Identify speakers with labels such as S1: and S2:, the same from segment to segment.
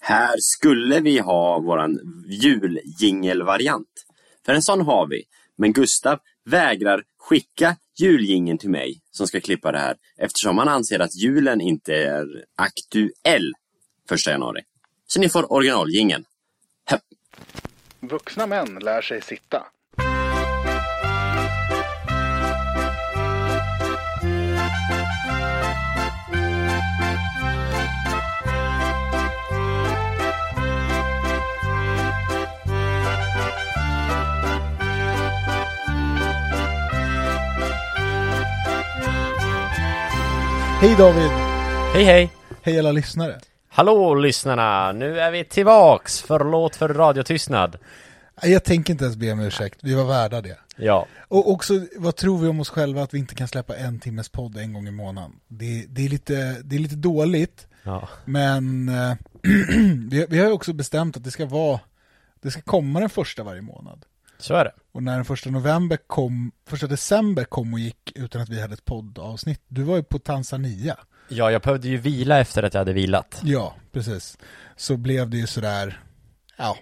S1: Här skulle vi ha våran juljingelvariant. För en sån har vi. Men Gustav vägrar skicka juljingeln till mig som ska klippa det här eftersom han anser att julen inte är aktuell 1 januari. Så ni får originaljingeln. Höpp.
S2: Vuxna män lär sig sitta.
S3: Hej David!
S4: Hej hej!
S3: Hej alla lyssnare!
S4: Hallå lyssnarna! Nu är vi tillbaks! Förlåt för radiotystnad.
S3: Nej, Jag tänker inte ens be om ursäkt, vi var värda det.
S4: Ja,
S3: Och också, vad tror vi om oss själva att vi inte kan släppa en timmes podd en gång i månaden? Det, det, är, lite, det är lite dåligt,
S4: ja.
S3: men eh, vi, vi har ju också bestämt att det ska vara, det ska komma den första varje månad.
S4: så är det.
S3: Och när den första november kom, första december kom och gick utan att vi hade ett poddavsnitt, du var ju på Tanzania.
S4: Ja, jag behövde ju vila efter att jag hade vilat.
S3: Ja, precis. Så blev det ju sådär, ja,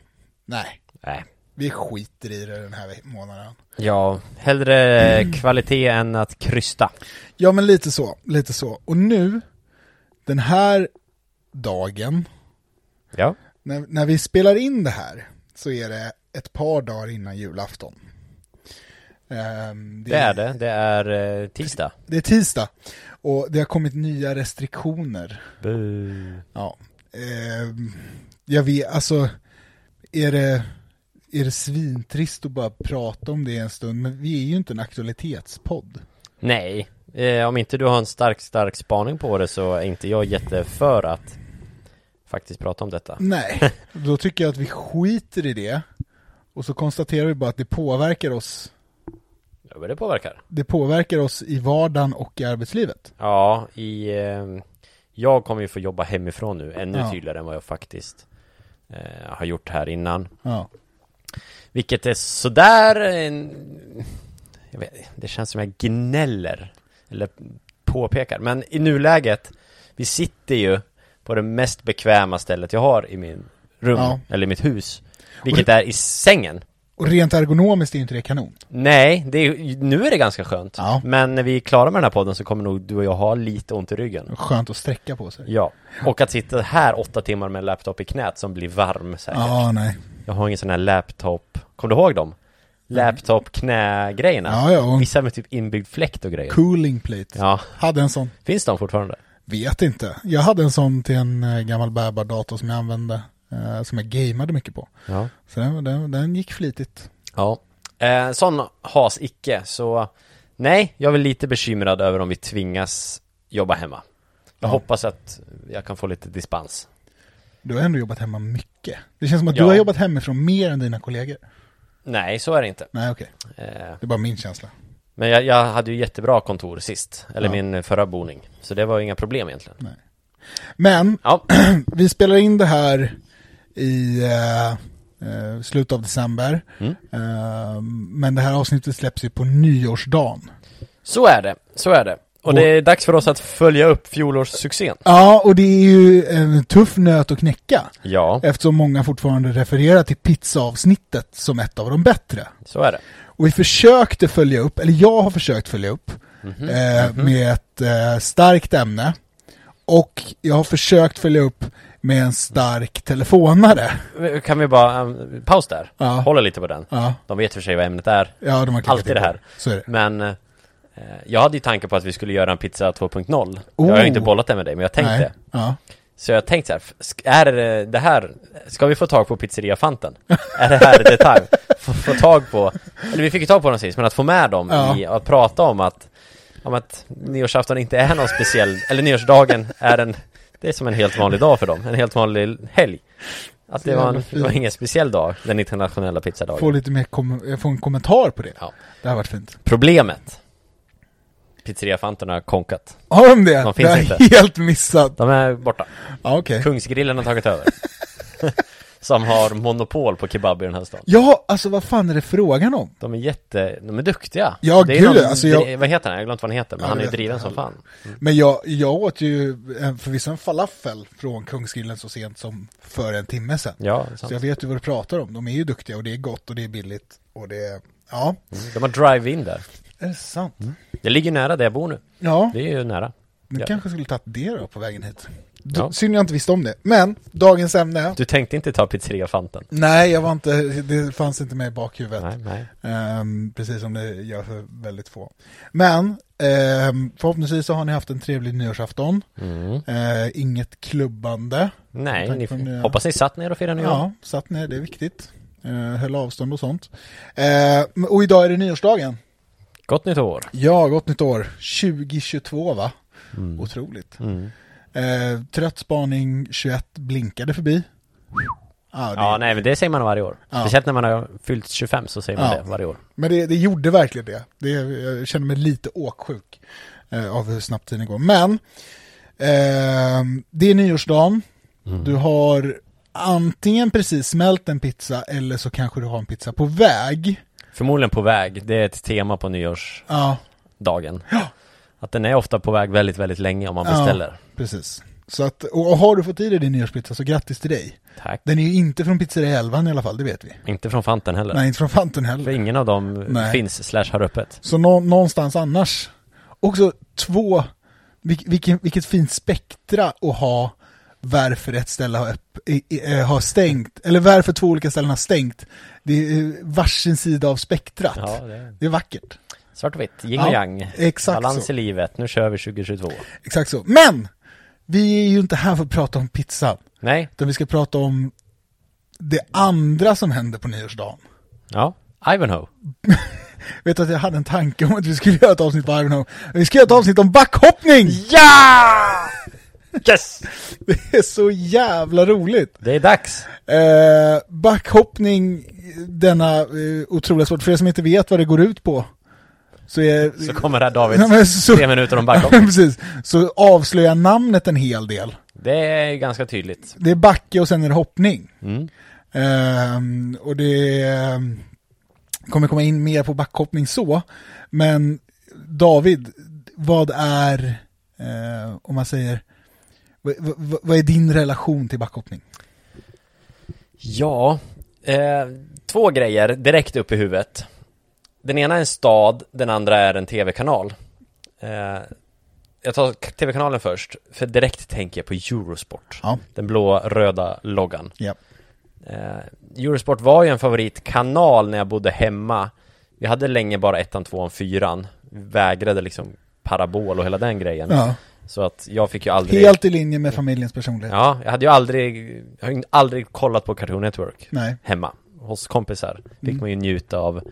S3: nej,
S4: Nej.
S3: vi skiter i det den här månaden.
S4: Ja, hellre kvalitet än att krysta.
S3: Ja men lite så, lite så. Och nu, den här dagen,
S4: Ja.
S3: när, när vi spelar in det här, så är det ett par dagar innan julafton. Ehm,
S4: Det är det. Det är eh, tisdag.
S3: Det är tisdag, och det har kommit nya restriktioner.
S4: Bu.
S3: Ja. Ehm, jag vet, alltså, är det, är det svintrist att bara prata om det en stund, men vi är ju inte en aktualitetspodd.
S4: Nej, eh, om inte du har en stark, stark spaning på det så är inte jag jätteför att faktiskt prata om detta.
S3: Mm. Nej, då tycker jag att vi skiter i det och så konstaterar vi bara att det påverkar oss.
S4: Ja, men det påverkar.
S3: Det påverkar oss i vardagen och i arbetslivet.
S4: Ja, i... Eh, jag kommer ju få jobba hemifrån nu, ännu
S3: Ja.
S4: tydligare än vad jag faktiskt eh, har gjort här innan.
S3: Ja,
S4: Vilket är sådär... en- Jag vet, det känns som jag gnäller. Eller påpekar. Men i nuläget, vi sitter ju på det mest bekväma stället jag har i min rum,
S3: Ja.
S4: eller mitt hus. Vilket är i sängen.
S3: och rent ergonomiskt är inte det kanon.
S4: Nej, det är, nu är det ganska skönt.
S3: Ja.
S4: Men när vi är klara med den här podden så kommer nog du och jag ha lite ont i ryggen.
S3: Skönt att sträcka på sig.
S4: Ja, och att sitta här åtta timmar med en laptop i knät som blir varm säkert.
S3: Ja, nej.
S4: Jag har ingen sån här laptop, kommer du ihåg dem? Laptop knä-grejerna?
S3: Ja, ja, och-
S4: Vissa med typ inbyggd fläkt och grejer
S3: Cooling plate.
S4: Ja,
S3: Hade en sån.
S4: finns de fortfarande?
S3: Vet inte. Jag hade en sån till en eh, gammal bärbar dator som jag använde, eh, som jag gamade mycket på.
S4: Ja
S3: Så den, den, den gick flitigt.
S4: Ja, eh, sån has icke, så nej, jag är väl lite bekymrad över om vi tvingas jobba hemma Jag
S3: Ja.
S4: hoppas att jag kan få lite dispens
S3: Du har ändå jobbat hemma mycket. Det känns som att du
S4: Ja.
S3: har jobbat hemifrån mer än dina kollegor.
S4: Nej, så är det inte
S3: Nej, okej.
S4: eh,
S3: Det är bara min känsla.
S4: Men jag, jag hade ju jättebra kontor sist, eller
S3: Ja.
S4: min förra boning Så det var ju inga problem egentligen
S3: Men
S4: Ja,
S3: vi spelar in det här i eh, eh, slutet av december.
S4: Mm.
S3: Eh, men det här avsnittet släpps ju på nyårsdagen.
S4: så är det, så är det och det är dags för oss att följa upp fjolårssuccén
S3: Ja, och det är ju en tuff nöt att knäcka.
S4: Ja,
S3: Eftersom många fortfarande refererar till pizzaavsnittet som ett av de bättre.
S4: så är det
S3: Och vi försökte följa upp, eller jag har försökt följa upp,
S4: Mhm.
S3: eh, med ett eh, starkt ämne. Och jag har försökt följa upp med en stark telefonare.
S4: Kan vi bara, um, paus där,
S3: Ja.
S4: hålla lite på den
S3: Ja,
S4: De vet för sig vad ämnet är,
S3: ja de har klickat
S4: Alltid
S3: in på
S4: det här.
S3: Så är det.
S4: men eh, jag hade ju tanke på att vi skulle göra en pizza 2.0
S3: Oh.
S4: Jag har ju inte bollat det med dig, men jag tänkte
S3: Nej. Ja.
S4: Så jag tänkte så här, sk- är det det här, ska vi få tag på pizzeria Fanten? är det här detalj? Få, få tag på, eller vi fick ju tag på dem sist, men att få med dem
S3: Ja.
S4: i, att prata om att Om att nyårsafton inte är någon speciell, eller nyårsdagen är en Det är som en helt vanlig dag för dem, en helt vanlig helg Att det
S3: Så
S4: var, en,
S3: jävla fint.
S4: det var ingen speciell dag, den internationella pizzadagen
S3: Få lite mer kom- få en kommentar på det.
S4: Ja.
S3: Det har varit fint.
S4: Problemet Pizzeria Fanten har konkat
S3: Har de det?
S4: De finns
S3: det har
S4: inte.
S3: jag helt missat.
S4: De är borta
S3: Ja, okej.
S4: Kungsgrillen har tagit över
S5: som har monopol på kebab i den här staden.
S3: Ja, alltså vad fan är det frågan om?
S5: De är jätte, de är duktiga.
S3: Ja,
S5: det är
S3: gud,
S5: någon,
S3: alltså jag-
S5: dri- Vad heter han? Jag har glömt vad han heter, men
S3: Ja,
S5: han är
S3: jag
S5: ju
S3: vet
S5: driven
S3: inte
S5: som fan.
S3: Men jag, jag åt ju en- förvisso en falafel från Kungsgrillen så sent som för en timme sedan.
S5: Ja, det är sant.
S3: Så jag vet ju vad du pratar om. De är ju duktiga och det är gott och det är billigt och det är... Ja,
S5: De har drive-in där.
S3: är det sant?
S4: Mm.
S5: Det ligger nära där jag bor nu.
S3: Ja,
S5: Det är ju nära.
S3: du
S5: Ja.
S3: kanske skulle tagit det då på vägen hit. Du,
S5: Ja.
S3: Synd jag inte visste om det. Men, dagens ämne.
S5: Du tänkte inte ta pizzeria Fanten?
S3: Nej, jag var inte, det fanns inte med i bakhuvudet.
S5: Nej, nej.
S3: Ehm, precis som det gör för väldigt få. Men ehm, förhoppningsvis så har ni haft en trevlig nyårsafton.
S5: Mm.
S3: Eh, inget klubbande.
S5: Nej,
S3: Tack
S5: ni,
S3: för det.
S5: hoppas ni satt ner och firade nyår.
S3: Ja, satt ner, det är viktigt. Eh, höll avstånd och sånt. Eh, men- och idag är det nyårsdagen.
S5: Gott nytt år.
S3: Ja, gott nytt år. 2022 va?
S5: Mm.
S3: Otroligt. Eh, trött spaning 21 blinkade förbi. Ja, det,
S5: Ja, nej men det säger man varje år.
S3: Ja.
S5: Speciellt när man har fyllt 25 så säger man
S3: Ja.
S5: det varje år.
S3: Men det, det gjorde verkligen det. det. Jag känner mig lite åksjuk eh, av hur snabbt tiden går. Men ehm, det är nyårsdagen. Du har antingen precis smält en pizza eller så kanske du har en pizza på väg.
S5: Förmodligen på väg, det är ett tema på nyårsdagen.
S3: Ja,
S5: Att den är ofta på väg väldigt, väldigt länge om man beställer.
S3: Ja, precis. Så att, och har du fått i dig din nyårspizza så grattis till dig.
S5: Tack.
S3: Den är ju inte från Pizzeria 11 i alla fall, det vet vi.
S5: Inte från Fanten heller.
S3: Nej, inte från Fanten
S5: För
S3: heller.
S5: ingen av dem
S3: Nej.
S5: finns slash har öppet.
S3: Så nå, någonstans annars. Också två, vil, vilken, vilket fint spektra att ha varför ett ställe har, öpp, i, i, eh, har stängt, eller varför två olika ställen har stängt. Det är eh, varsin sida av spektrat.
S5: Ja, det är
S3: Det är vackert.
S5: svart och vitt, yin och
S3: Ja,
S5: yang.
S3: exakt
S5: Balans
S3: så.
S5: i livet, nu kör vi 2022.
S3: Exakt så. Men! Vi är ju inte här för att prata om pizza,
S5: Nej,
S3: utan vi ska prata om det andra som händer på nyårsdagen.
S5: ja, Ivanhoe.
S3: Vet du att jag hade en tanke om att vi skulle göra ett avsnitt på Ivanhoe. Vi ska göra ett avsnitt om backhoppning!
S5: Ja! Yes!
S3: Det är så jävla roligt!
S5: Det är dags.
S3: Eh, backhoppning, denna eh, otroliga sport. För er som inte vet vad det går ut på, så är...
S5: Så kommer här David,
S3: Nej, men så-
S5: tre minuter om backhoppning.
S3: Precis. Så avslöjar namnet en hel del.
S5: Det är ju ganska tydligt.
S3: Det är backe och sen är det hoppning.
S5: Mm.
S3: Ehm, och det ehm, kommer komma in mer på backhoppning så. Men David, vad är, eh, om man säger, vad, vad, vad är din relation till backhoppning?
S5: Ja, eh, två grejer direkt upp i huvudet. Den ena är en stad, den andra är en tv-kanal. Eh, jag tar k- tv-kanalen först, för direkt tänker jag på Eurosport.
S3: Ja.
S5: Den blå röda loggan.
S3: Ja.
S5: Eh, Eurosport var ju en favoritkanal när jag bodde hemma. Vi hade länge bara ettan, tvåan, fyran. Vägrade liksom parabol och hela den grejen.
S3: ja.
S5: Så att jag fick ju aldrig...
S3: Helt i linje med familjens personlighet.
S5: Ja, jag hade ju aldrig, jag har ju aldrig kollat på Cartoon Network
S3: Nej.
S5: hemma hos kompisar. Fick
S3: Mm.
S5: man ju njuta av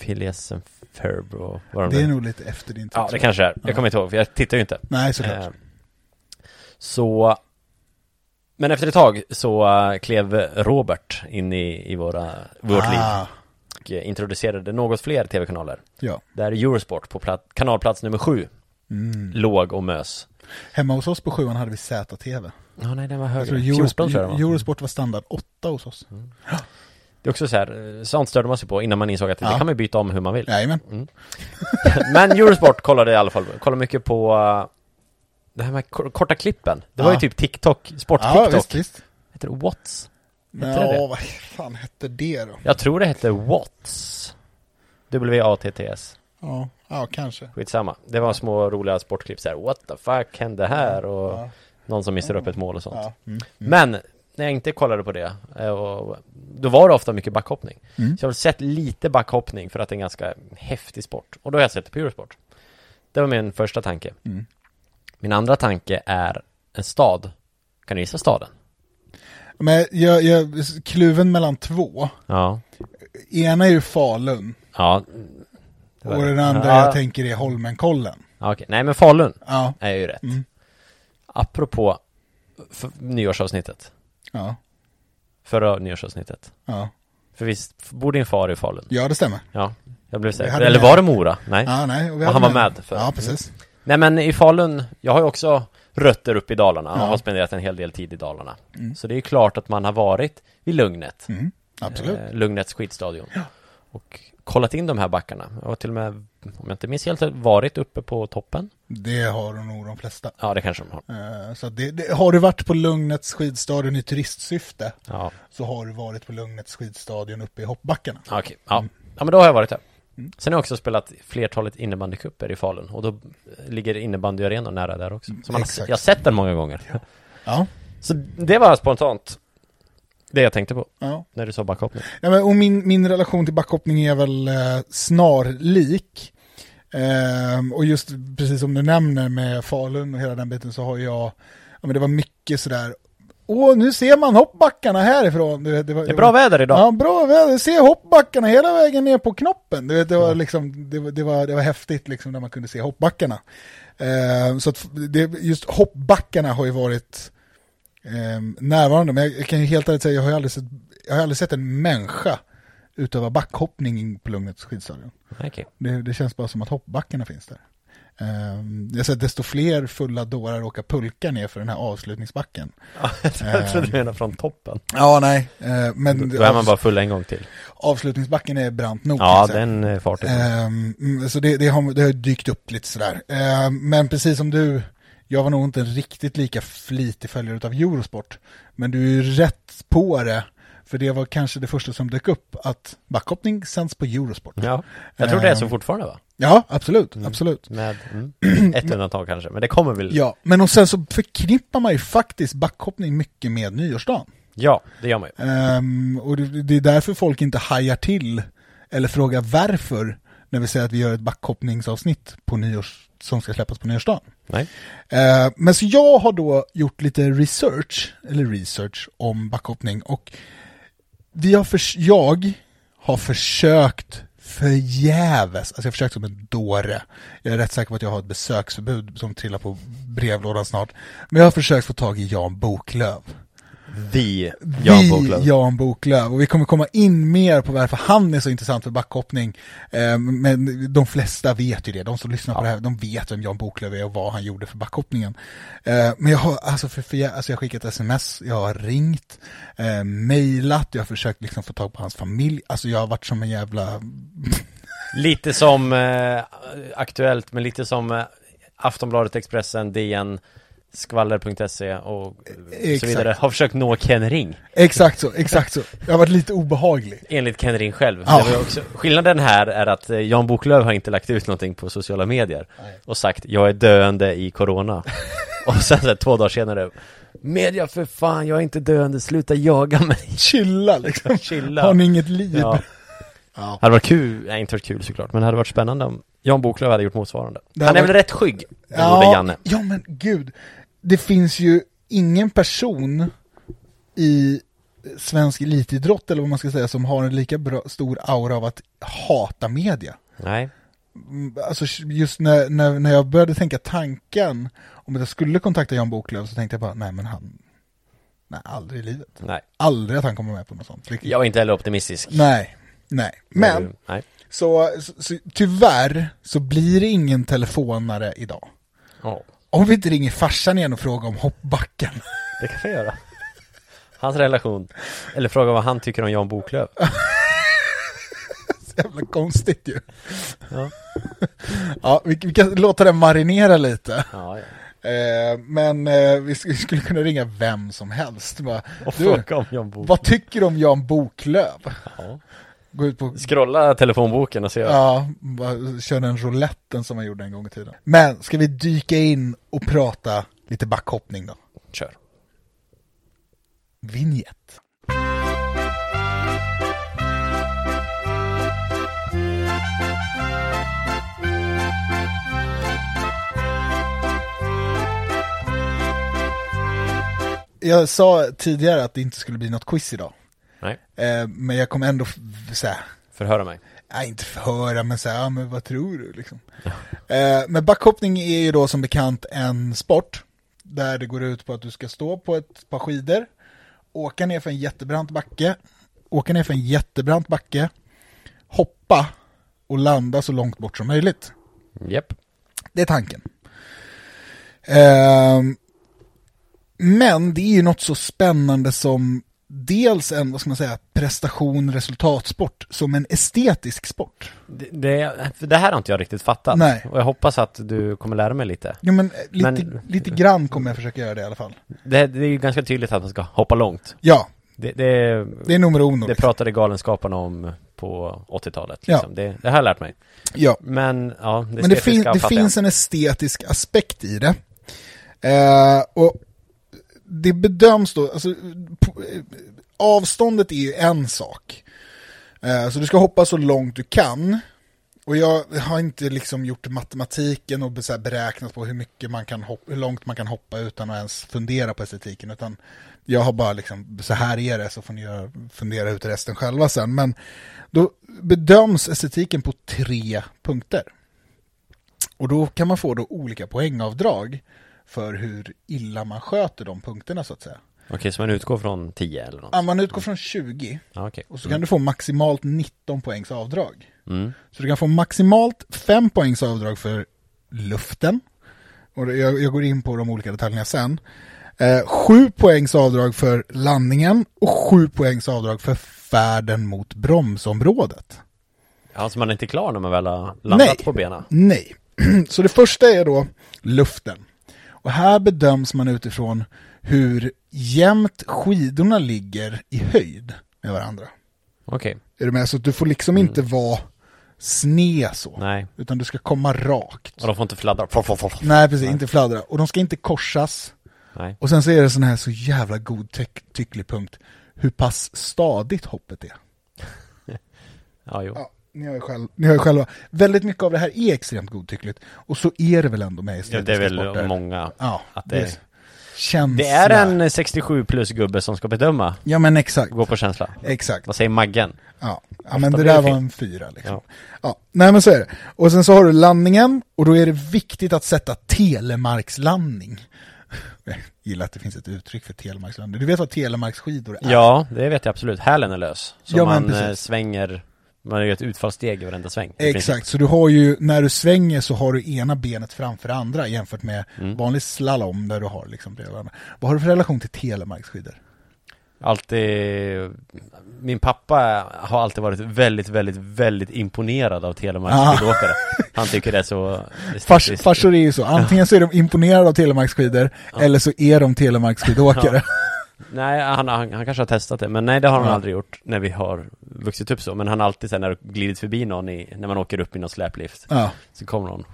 S5: Phileas and Ferb och vad de
S3: Det är
S5: nu-
S3: nog lite efter din tid.
S5: Ja, det kanske är. Jag kommer inte ihåg, för jag tittar ju inte.
S3: Nej, såklart.
S5: Eh, så, men efter ett tag så eh, klev Robert in i, i våra, vårt liv
S3: Ah,
S5: och eh, introducerade något fler tv-kanaler.
S3: ja.
S5: Där Eurosport på plat- kanalplats nummer sju låg och mös.
S3: Mm. Hemma hos oss på sjuan hade vi ZTV.
S5: Ja, nej, den var
S3: Jag
S5: högre.
S3: tror
S5: 14
S3: Eurosport,
S5: tror jag den var.
S3: Eurosport var standard 8 hos oss.
S5: Mm. Det är också så här, eh, sånt störde man sig på innan man insåg att det
S3: Ja.
S5: kan man ju byta om hur man vill.
S3: Jajamän.
S5: Men Eurosport kollade jag i alla fall, kollade mycket på eh, det här med kor- korta klippen. Det var ju
S3: Ja.
S5: typ TikTok,
S3: Ja,
S5: sport-TikTok.
S3: visst, visst.
S5: Heter det What's? Hette det
S3: Ja,
S5: det?
S3: vad fan hette det då?
S5: Jag tror det hette What's. W-A-T-T-S.
S3: Ja, ja kanske.
S5: Skitsamma. Det var små roliga sportklipp så här. What the fuck hände här? Och någon som missar upp ett mål och sånt.
S3: Ja. Mm.
S5: Men när jag inte kollade på det, eh, och, då var det ofta mycket backhoppning.
S3: mm.
S5: Så jag har sett lite backhoppning för att det är en ganska häftig sport. Och då har jag sett det på Eurosport. Det var min första tanke.
S3: Mm.
S5: Min andra tanke är en stad. Kan du gissa staden?
S3: Men jag, jag, kluven mellan två.
S5: Ja.
S3: Ena är ju Falun
S5: Ja. Det var
S3: och
S5: det.
S3: den andra
S5: Ja.
S3: jag tänker är Holmenkollen.
S5: Ja, Okej, nej men Falun
S3: Ja,
S5: är ju rätt.
S3: Mm.
S5: Apropå f- nyårsavsnittet.
S3: ja,
S5: Förra nyårsavsnittet.
S3: ja.
S5: För visst bor din far i Falun?
S3: Ja, det stämmer.
S5: Ja. Jag blev säker.
S3: hade
S5: Eller
S3: med-
S5: var det Mora? Nej.
S3: Ja, nej, vi
S5: Och
S3: hade
S5: han var med för-
S3: Ja, precis.
S5: Nej men i Falun, jag har ju också rötter upp i Dalarna och har spenderat en hel del tid i Dalarna.
S3: Mm.
S5: Så det är ju klart att man har varit vid Lugnet,
S3: Absolut.
S5: eh, Lugnets skidstadion. Och kollat in de här backarna. Jag har till och med, om jag inte minns helt rätt, varit uppe på toppen.
S3: Det har nog de flesta.
S5: Ja, det kanske de har.
S3: Eh, Så att det, det, har du varit på Lugnets skidstadion i turistsyfte
S5: Ja,
S3: så har du varit på Lugnets skidstadion uppe i hoppbackarna.
S5: Ja, okej. Ja.
S3: Mm.
S5: ja, men då har jag varit där. Sen har jag också spelat flertalet innebandycuper i Falun och då eh, ligger innebandyarenan nära där också. Så man har,
S3: Mm. Exakt.
S5: jag har sett den många gånger.
S3: Ja.
S5: Så det var spontant det jag tänkte på
S3: ja.
S5: när du sa backhoppning.
S3: ja men, och min, min relation till backhoppning är väl eh, snarlik. Ehm, och just precis som du nämner med Falun och hela den biten så har jag, ja men det var mycket sådär, åh nu ser man hoppbackarna härifrån. Du vet, var,
S5: Det är bra väder idag.
S3: Ja, bra väder. Se hoppbackarna hela vägen ner på knoppen. Du vet, det, var liksom, det, var, det, var, det var häftigt liksom när man kunde se hoppbackarna. Eh, så att det, just hoppbackarna har ju varit eh, närvarande. Men jag, jag kan ju helt ärligt säga, jag har ju aldrig sett, jag har aldrig sett en människa utöva backhoppning på Lugnets skidstadion.
S5: Okej.
S3: Det, det känns bara som att hoppbackarna finns där. Eh, jag har sett desto fler fulla dårar åka pulka ner för den här avslutningsbacken.
S5: Ja, jag trodde du menade från toppen.
S3: Ja, nej. Eh, men
S5: Då är man bara full en gång till.
S3: avslutningsbacken är brant nog. kan
S5: Ja,
S3: jag säga.
S5: den eh, är fartig.
S3: Ehm, mm, så det, det, har, det har dykt upp lite sådär. Ehm, men precis som du, jag var nog inte en riktigt lika flitig följare av Eurosport. Men du är ju rätt på det, för det var kanske det första som dök upp, att backhoppning sänds på Eurosport.
S5: Ja, jag tror det är så
S3: Ehm.
S5: fortfarande va?
S3: Ja, absolut, absolut.
S5: Med mm, ett undantag kanske, men det kommer väl?
S3: Ja, men och sen så förknippar man ju faktiskt backhoppning mycket med nyårsdagen.
S5: Ja, det gör man ju.
S3: Ehm, och det, det är därför folk inte hajar till eller frågar varför när vi säger att vi gör ett backhoppningsavsnitt på nyårs, som ska släppas på nyårsdagen.
S5: Nej.
S3: Eh, men så jag har då gjort lite research, eller research om backhoppning och vi har förs- jag har försökt förgäves, alltså jag har försökt som en dåre. Jag är rätt säker på att jag har ett besöksförbud som trillar på brevlådan snart. Men jag har försökt få tag i Jan Boklöv.
S5: Vi, Jan
S3: Vi,
S5: Boklöv.
S3: Jan Boklöv. Och vi kommer komma in mer på varför han är så intressant för backhoppning. Eh, Men de flesta vet ju det. De som lyssnar på det här, de vet vem Jan Boklöv är och vad han gjorde för backhoppningen. Eh, Men jag har, alltså, för, för jag, alltså jag har skickat sms, jag har ringt, eh, mejlat, jag har försökt liksom få tag på hans familj. Alltså jag har varit som en jävla...
S5: Lite som eh, Aktuellt, men lite som eh, Aftonbladet, Expressen, DN, skvaller.se E och
S3: Exakt.
S5: så vidare har försökt nå Ken Ring,
S3: Exakt så, exakt så. Jag har varit lite obehaglig.
S5: enligt Ken Ring själv.
S3: Ja.
S5: Det var ju också, skillnaden här är att eh, Jan Boklöv har inte lagt ut någonting på sociala medier och sagt jag är döende i corona. och sen så här, två dagar senare, media för fan, jag är inte döende, sluta jaga mig.
S3: Chilla liksom.
S5: Chilla.
S3: Har ni inget liv?
S5: Ja.
S3: Ja.
S5: Hade varit kul, nej inte varit kul såklart, men det hade varit spännande om Jan Boklöv hade gjort motsvarande.
S3: Det
S5: Han är
S3: hade
S5: väl rätt skygg, det gjorde Janne.
S3: ja, men gud. Det finns ju ingen person i svensk elitidrott, eller vad man ska säga, som har en lika bra, stor aura av att hata media.
S5: Nej.
S3: Mm, Alltså just när, när, när jag började tänka tanken om att jag skulle kontakta Jan Boklöv så tänkte jag bara, nej men han, nej aldrig i livet.
S5: Nej,
S3: Aldrig att han kommer med på något sånt.
S5: jag är inte heller optimistisk. Eh,
S3: Nej, nej. Men,
S5: Nej.
S3: så, så, så tyvärr så blir det ingen telefonare idag.
S5: Ja,
S3: Om vi inte ringer farsan igen och frågar om hoppbacken.
S5: det kan vi göra. Hans relation. Eller fråga vad han tycker om Jan Boklöv.
S3: Så jävla konstigt ju.
S5: Ja.
S3: Ja, vi, vi kan låta den marinera lite.
S5: Ja, ja.
S3: Eh, men eh, vi sk- skulle kunna ringa vem som helst. Bara,
S5: Och
S3: du,
S5: fråga om Jan Boklöv.
S3: vad tycker du om Jan Boklöv?
S5: Ja.
S3: Gå ut på...
S5: Scrolla telefonboken och se.
S3: Ja, bara kör den rouletten som man gjorde en gång i tiden. Men ska vi dyka in och prata lite backhoppning då?
S5: Kör.
S3: Vignett. Jag sa tidigare att det inte skulle bli något quiz idag.
S5: Nej,
S3: Eh, men jag kom ändå f- såhär,
S5: förhöra mig.
S3: nej inte förhöra men såhär, ja, men vad tror du liksom. Eh, men backhoppning är ju då som bekant en sport där det går ut på att du ska stå på ett par skidor, åka ner för en jättebrant backe, åka ner för en jättebrant backe, hoppa och landa så långt bort som möjligt.
S5: Japp.
S3: Det är tanken. Ehm, Men det är ju något så spännande som dels en, vad ska man säga, prestation, resultatsport, som en estetisk sport.
S5: Det, det, för det här har inte jag riktigt fattat.
S3: Nej.
S5: Och jag hoppas att du kommer lära mig lite.
S3: Ja, men, eh, lite,
S5: Men-
S3: lite grann kommer jag försöka göra det i alla fall.
S5: Det, det är ju ganska tydligt att man ska hoppa långt.
S3: Ja,
S5: Det, det,
S3: det är nummer uno.
S5: det pratade Galenskaparna om på 80-talet.
S3: Ja.
S5: Liksom. Det, det har jag lärt mig.
S3: Ja.
S5: Men ja, det,
S3: Men det, fin-
S5: estetiska
S3: det
S5: fattar jag
S3: finns en estetisk aspekt i det. Eh, och det bedöms då, alltså, på, eh, avståndet är ju en sak. Eh, så du ska hoppa så långt du kan. Och jag har inte liksom gjort matematiken och så här beräknat på hur, mycket man kan hoppa, hur långt man kan hoppa utan att ens fundera på estetiken. Utan jag har bara liksom, så här är det, så får ni göra, fundera ut resten själva sen. Men då bedöms estetiken på tre punkter. Och då kan man få då olika poängavdrag för hur illa man sköter de punkterna så att säga.
S5: Okej, så man utgår från 10 eller något?
S3: Ja, Man utgår från 20
S5: Ja, okej.
S3: och så kan du få maximalt 19 poängs avdrag.
S5: Mm.
S3: Så du kan få maximalt 5 poängs avdrag för luften. Och det- jag, jag går in på de olika detaljerna sen. 7 poängs avdrag för landningen och 7 poängs avdrag för färden mot bromsområdet.
S5: Ja, så man är inte klar när man väl har landat
S3: Nej.
S5: på benen?
S3: Nej. Så det första är då luften. Och här bedöms man utifrån hur jämnt skidorna ligger i höjd med varandra.
S5: Okej,
S3: Är du med? Så att du får liksom inte vara sned så.
S5: Mm. nej.
S3: Utan du ska komma rakt.
S5: Och de får inte fladdra? Fof, fof, fof.
S3: Nej, precis. Inte fladdra. Och de ska inte korsas.
S5: Nej.
S3: Och sen så är det sån här så jävla godtycklig punkt. Hur pass stadigt hoppet är.
S5: Ja, jo.
S3: Ja, ni har ju själv, ni har ju själva. Väldigt mycket av det här är extremt godtyckligt. Och så är det väl ändå med
S5: Ja,
S3: estetiska
S5: det är väl
S3: sporter.
S5: många.
S3: Ja,
S5: Att
S3: det,
S5: det-
S3: känsla.
S5: Det är en 67 plus gubbe som ska bedöma,
S3: Ja men exakt.
S5: gå på känsla.
S3: Exakt.
S5: Vad säger Maggen?
S3: Ja, ja men
S5: Ofta
S3: det
S5: blir
S3: där
S5: det
S3: var
S5: fel.
S3: en fyra liksom.
S5: Ja.
S3: Ja. nej men så är det. Och sen så har du landningen och då är det viktigt att sätta telemarkslandning. Jag gillar att det finns ett uttryck för telemarkslandning. Du vet vad telemarksskidor är?
S5: Ja, det vet jag absolut. Hälen är lös. Så
S3: Ja, men
S5: man eh,
S3: precis.
S5: svänger, man gör ett utfallssteg i varenda sväng. i princip.
S3: Exakt, så du har ju, när du svänger så har du ena benet framför andra jämfört med
S5: Mm.
S3: vanlig slalom där du har liksom bredvid varandra. Vad har du för relation till telemarksskidor?
S5: Alltid, min pappa har alltid varit väldigt, väldigt, väldigt imponerad av
S3: Ah.
S5: telemarkskidåkare. Han tycker det är så
S3: Fars,
S5: estetiskt.
S3: farsor är ju så, antingen så är de imponerade av telemarksskidor eller så är de telemarksskidåkare.
S5: Nej, han, han, han kanske har testat det, men nej det har han
S3: Ja.
S5: aldrig gjort när vi har vuxit upp så. Men han har alltid sen när det glidit förbi någon i, när man åker upp i någon släplift,
S3: Ja.
S5: så kommer någon.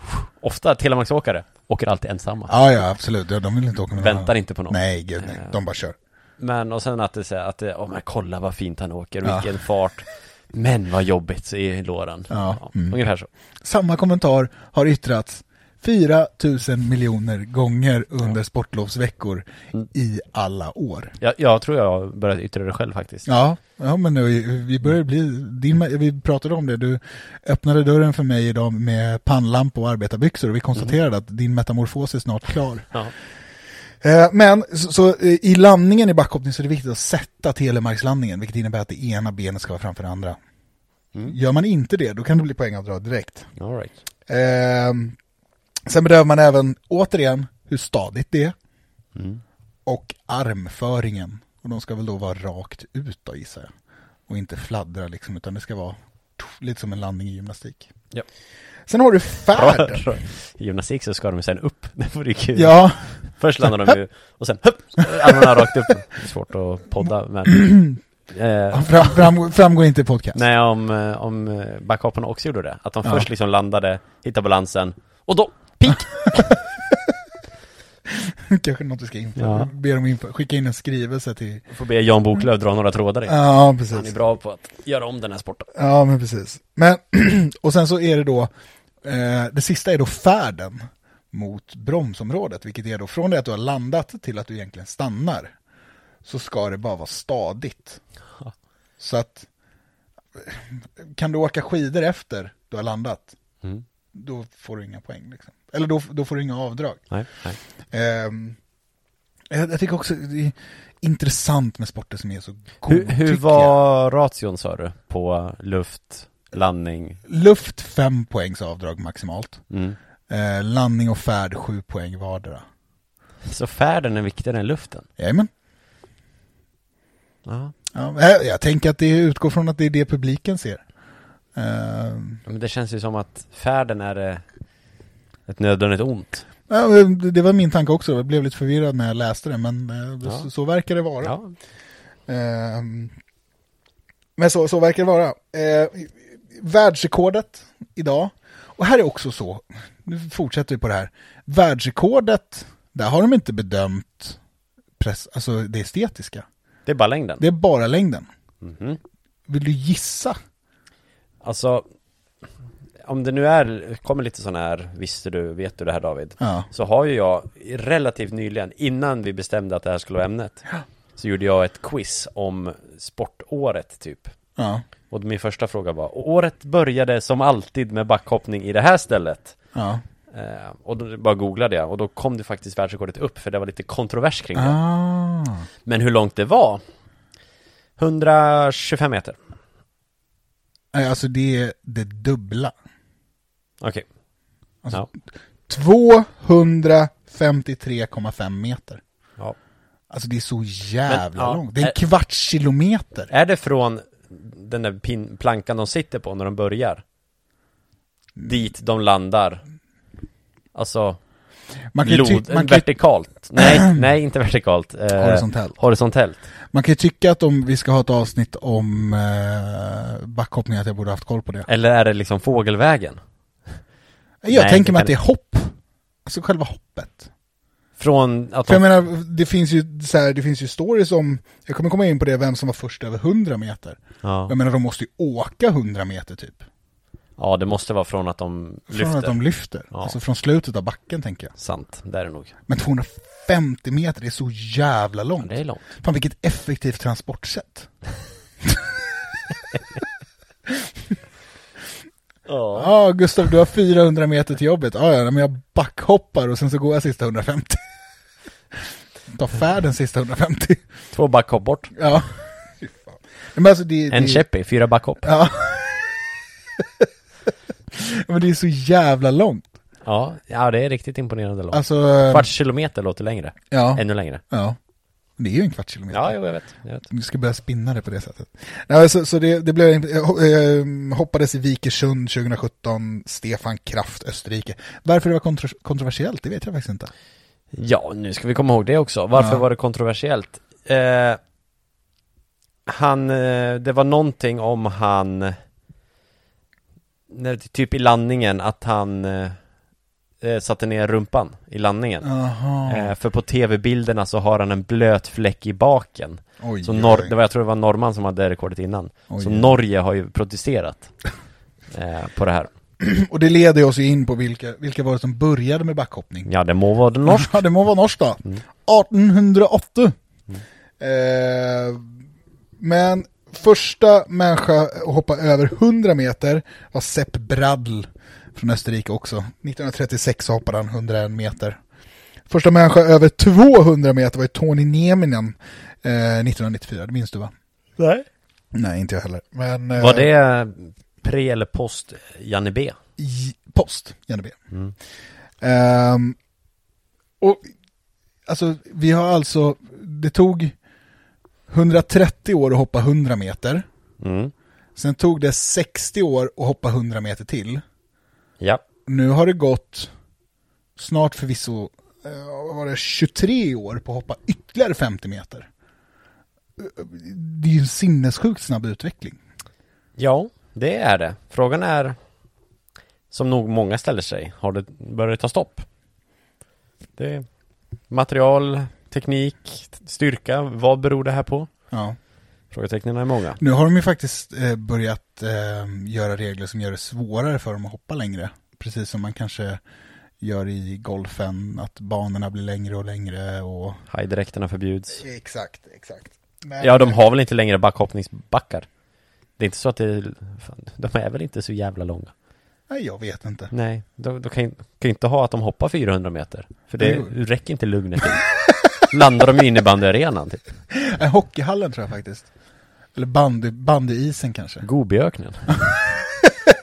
S5: Ofta telemaxåkare, åker alltid ensamma.
S3: Ja, ja, absolut. Ja, de vill inte åka med någon
S5: Väntar
S3: annan.
S5: inte på någon. Eh.
S3: Nej, gud nej. De bara kör.
S5: Men och sen att det säger att det, åh men kolla vad fint han åker,
S3: Ja.
S5: vilken fart. Men vad jobbigt i låren.
S3: Ja. Mm.
S5: Ungefär så.
S3: Samma kommentar har yttrats 4 000 miljoner gånger under sportlovsveckor
S5: Mm.
S3: i alla år.
S5: Jag, jag tror jag har börjat yttra det själv faktiskt.
S3: Ja, ja men nu, vi börjar bli, din, vi pratade om det, du öppnade dörren för mig idag med pannlampa och arbetarbyxor och vi konstaterade
S5: Mm.
S3: att din metamorfos är snart klar.
S5: Ja.
S3: Eh, Men så, så eh, i landningen i backhoppning så är det viktigt att sätta telemarkslandningen, vilket innebär att det ena benet ska vara framför det andra. Gör man inte det, då kan det bli poängavdrag direkt.
S5: All right.
S3: Ehm, sen bedömer man även, återigen, hur stadigt det är.
S5: Mm.
S3: Och armföringen. Och de ska väl då vara rakt ut då, gissar jag. Och inte fladdra liksom, utan det ska vara tuff, lite som en landning i gymnastik.
S5: Ja.
S3: Sen har du färden.
S5: I gymnastik så ska de ju sen upp, det vore ju kul.
S3: Ja,
S5: Först landar de ju, och sen hupp, armarna rakt upp. Det är svårt att podda, men... Eh,
S3: fram, fram, framgår inte i podcast.
S5: nej, om, eh, om eh, backhopparna också gjorde det. Att de
S3: Ja.
S5: först liksom landade, hittade balansen, och då, pik!
S3: Kanske något vi ska införa.
S5: Ja.
S3: Be dem införa. Skicka in en skrivelse till...
S5: Får be Jan Boklöv dra några trådar in.
S3: Ja,
S5: Han är
S3: precis.
S5: bra på att göra om den här sporten.
S3: Ja, men precis. Men, och sen så är det då, eh, det sista är då färden mot bromsområdet, vilket är då från det att du har landat till att du egentligen stannar, så ska det bara vara stadigt.
S5: Ja.
S3: Så att, eh, kan du åka skidor efter du har landat,
S5: Mm.
S3: då får du inga poäng. Liksom. Eller då, då får du inga avdrag.
S5: Nej, nej.
S3: Ehm, jag, jag tycker också det är intressant med sporter som är så
S5: Hur,
S3: godtyckliga.
S5: hur var ration sa du? På luft, landning?
S3: Luft 5 poängs avdrag maximalt. Ehm,
S5: Mm.
S3: Eh, landning och färd 7 poäng vardera.
S5: Så färden är viktigare än luften?
S3: Jajamän.
S5: Ja.
S3: Ja, eh, jag, jag tänker att det utgår från att det är det publiken ser. Ehm,
S5: Men det känns ju som att färden är eh, ett nödvändigt ont.
S3: ja, men det det var min tanke också, jag blev lite förvirrad när jag läste det, men eh,
S5: Ja.
S3: så, så verkar det vara.
S5: Ja.
S3: Ehm, men så, så verkar det vara. Uh, världsrekordet idag, och här är också så, nu fortsätter vi på det här, världsrekordet, där har de inte bedömt press, alltså det estetiska.
S5: Det är bara längden.
S3: Det är bara längden.
S5: Mhm.
S3: Vill du gissa?
S5: Alltså, om det nu är, kommer lite sån här, visste du, vet du det här David?
S3: Ja.
S5: Så har ju jag relativt nyligen, innan vi bestämde att det här skulle vara ämnet, så gjorde jag ett quiz om sportåret typ.
S3: Ja.
S5: Och min första fråga var, året började som alltid med backhoppning i det här stället.
S3: Ja.
S5: Eh, och då bara googlade jag och då kom det faktiskt världsrekordet upp för det var lite kontrovers kring det.
S3: Ah.
S5: Men hur långt det var? 125 meter.
S3: Nej, alltså det är det dubbla.
S5: Okej.
S3: Alltså-
S5: Ja.
S3: 253,5 meter.
S5: ja.
S3: Alltså det är så jävla
S5: Men, ja,
S3: långt. Det är en
S5: är-
S3: kvarts kilometer.
S5: Är det från den där pin- plankan de sitter på när de börjar? Dit de landar? Alltså,
S3: Mm. Man kan ju, ty-
S5: lod,
S3: man kan, ju-
S5: vertikalt? Nej, nej inte vertikalt. Eh,
S3: Horisontellt.
S5: Horisontellt.
S3: man kan ju tycka att om vi ska ha ett avsnitt om eh, backhoppning att jag borde haft koll på det.
S5: Eller är det liksom fågelvägen?
S3: Jag
S5: nej,
S3: tänker mig
S5: det
S3: att det är hopp. Alltså själva hoppet.
S5: Från att
S3: För
S5: de...
S3: jag menar, det finns ju så här, det finns ju stories om, jag kommer komma in på det, vem som var först över 100 meter.
S5: ja.
S3: Jag menar, de måste ju åka 100 meter typ.
S5: ja, det måste vara från att de
S3: Från
S5: lyfter.
S3: att de lyfter.
S5: Ja.
S3: Alltså från slutet av backen tänker jag.
S5: Sant, det är det nog.
S3: Men 250 meter, det är så jävla
S5: Men
S3: långt.
S5: Det är långt.
S3: Fan vilket effektivt transportsätt. Ja, Gustav, du har 400 meter till jobbet. Ja, ja, men jag backhoppar och sen så går jag sista 150. Ta färden sista 150.
S5: Två backhopp bort.
S3: Ja. Fy fan. Men alltså det,
S5: En
S3: det,
S5: käpp i, fyra backhopp.
S3: Ja. men det är så jävla långt.
S5: Ja, ja det är riktigt imponerande långt.
S3: Alltså, eh,
S5: Kvarts kilometer låter längre.
S3: ja,
S5: Ännu längre.
S3: ja. Det är ju en kvarts kilometer.
S5: Ja, jo, jag vet. Jag vet.
S3: Du ska börja spinna det på det sättet. Nej, så, så det, det blev, jag ho- eh, hoppades i Vikersund 2017, Stefan Kraft, Österrike. Varför det var kontro, kontroversiellt, det vet jag faktiskt inte.
S5: Ja, nu ska vi komma ihåg det också. Varför
S3: Ja.
S5: var det kontroversiellt? Eh, han, eh, det var någonting om han, när, typ i landningen, att han eh, eh, satte ner rumpan i landningen.
S3: Jaha.
S5: Eh, för på tv-bilderna så har han en blöt fläck i baken.
S3: Oj,
S5: Så
S3: oj,
S5: nor-
S3: oj.
S5: det var, jag tror det var norrman som hade rekordet innan.
S3: Oj,
S5: så
S3: oj.
S5: Norge har ju protesterat eh, på det här.
S3: Och det leder oss ju in på vilka, vilka var det som började med backhoppning.
S5: Ja, det må vara norskt.
S3: Ja, det må vara norskt då. 1808.
S5: Mm.
S3: Eh, men första människa att hoppa över 100 meter var Sepp Bradl från Österrike också. 1936 så hoppade han 101 meter. Första människa över 200 meter var ju Tony Nieminen eh, 1994, det minns du va?
S5: Nej.
S3: Nej, inte jag heller. Men, eh,
S5: Var det pre eller post Janne B?
S3: i post, gärna be. Ehm, och alltså, vi har alltså, det tog 130 år att hoppa 100 meter.
S5: Mm.
S3: Sen tog det 60 år att hoppa 100 meter till.
S5: Ja.
S3: Nu har det gått snart förvisso, eh, vad var det, 23 år på att hoppa ytterligare 50 meter. Eh, Det är ju en sinnessjukt snabb utveckling.
S5: Ja, det är det. Frågan är, som nog många ställer sig, har det börjat ta stopp? Det är material, teknik, styrka, vad beror det här på?
S3: Ja.
S5: Frågetecknen är många.
S3: Nu har de ju faktiskt eh, börjat eh, göra regler som gör det svårare för dem att hoppa längre. Precis som man kanske gör i golfen, att banorna blir längre och längre och...
S5: Hajdräkterna förbjuds.
S3: Exakt, exakt.
S5: Ja, de har väl inte längre backhoppningsbackar? Det är inte så att det, fan, de är väl inte så jävla långa?
S3: Nej, jag vet inte.
S5: Nej, de, de kan ju kan ju inte ha att de hoppar 400 meter. För det
S3: Nej,
S5: räcker inte lugnet till. Landar de i innebandyarenan typ?
S3: Nej, hockeyhallen tror jag faktiskt. Eller bandy, bandyisen kanske.
S5: Gobiöknen.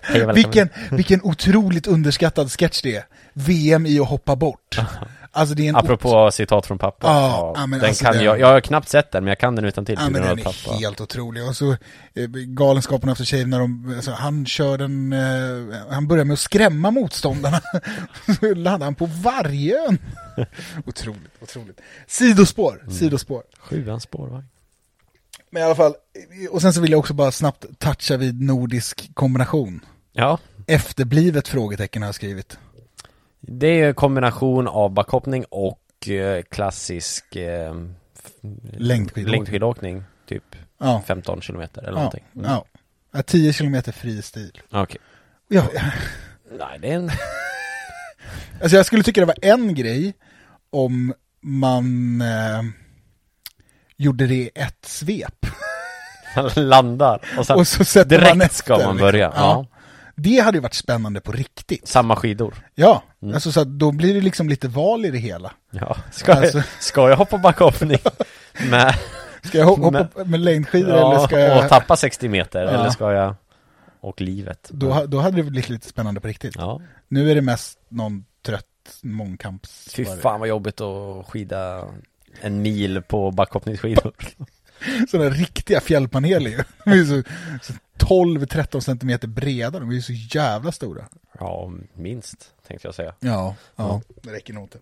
S5: Hej och välkommen.
S3: Vilken, vilken otroligt underskattad sketch det är. VM i att hoppa bort. Alltså det är en
S5: Apropå citat från pappa.
S3: Ja, ja, men
S5: den
S3: alltså
S5: kan
S3: den-
S5: jag, jag har knappt sett den, men jag kan den utan till
S3: Ja, men den är
S5: pappa.
S3: helt otrolig. Och så eh, Galenskaparna After Shave när de, alltså, han kör den, eh, han börjar med att skrämma motståndarna. så laddar han på vargen. otroligt, otroligt. Sidospår, sidospår.
S5: Sjuan spårvagn.
S3: Men i alla fall, och sen så vill jag också bara snabbt toucha vid nordisk kombination.
S5: Ja,
S3: Efterblivet frågetecken har jag skrivit.
S5: det är ju en kombination av backhoppning och eh, klassisk eh, f-
S3: Längdskidåkning.
S5: längdskidåkning, typ
S3: Ja,
S5: 15 kilometer eller
S3: ja,
S5: någonting. Mm.
S3: ja. ja 10 kilometer fri stil.
S5: Okej.
S3: Ja,
S5: Nej, det är en...
S3: Alltså jag skulle tycka det var en grej om man eh, gjorde det i ett svep.
S5: Man landar och sen
S3: Och så sätter
S5: direkt
S3: man efter,
S5: ska man
S3: liksom.
S5: börja. Ja.
S3: Ja. Det hade ju varit spännande på riktigt.
S5: Samma skidor.
S3: Ja,
S5: Mm.
S3: alltså så att då blir det liksom lite val i det hela.
S5: Ja, ska,
S3: Alltså-
S5: jag, ska jag hoppa backhoppning med,
S3: Ska jag ho-
S5: Men-
S3: hoppa med, längdskidor eller
S5: ja,
S3: ska jag...
S5: och tappa 60 meter
S3: Ja.
S5: eller ska jag, och livet.
S3: Då, ha- då hade det blivit lite spännande på riktigt.
S5: Ja,
S3: Nu är det mest någon trött mångkamps...
S5: fy fan vad jobbigt att skida en mil på backhoppningsskidor.
S3: Sådana riktiga fjällpaneler ju. De är ju så, så 12-13 centimeter breda, de är ju så jävla stora.
S5: Ja, minst tänkte jag säga.
S3: Ja, ja. det räcker nog inte.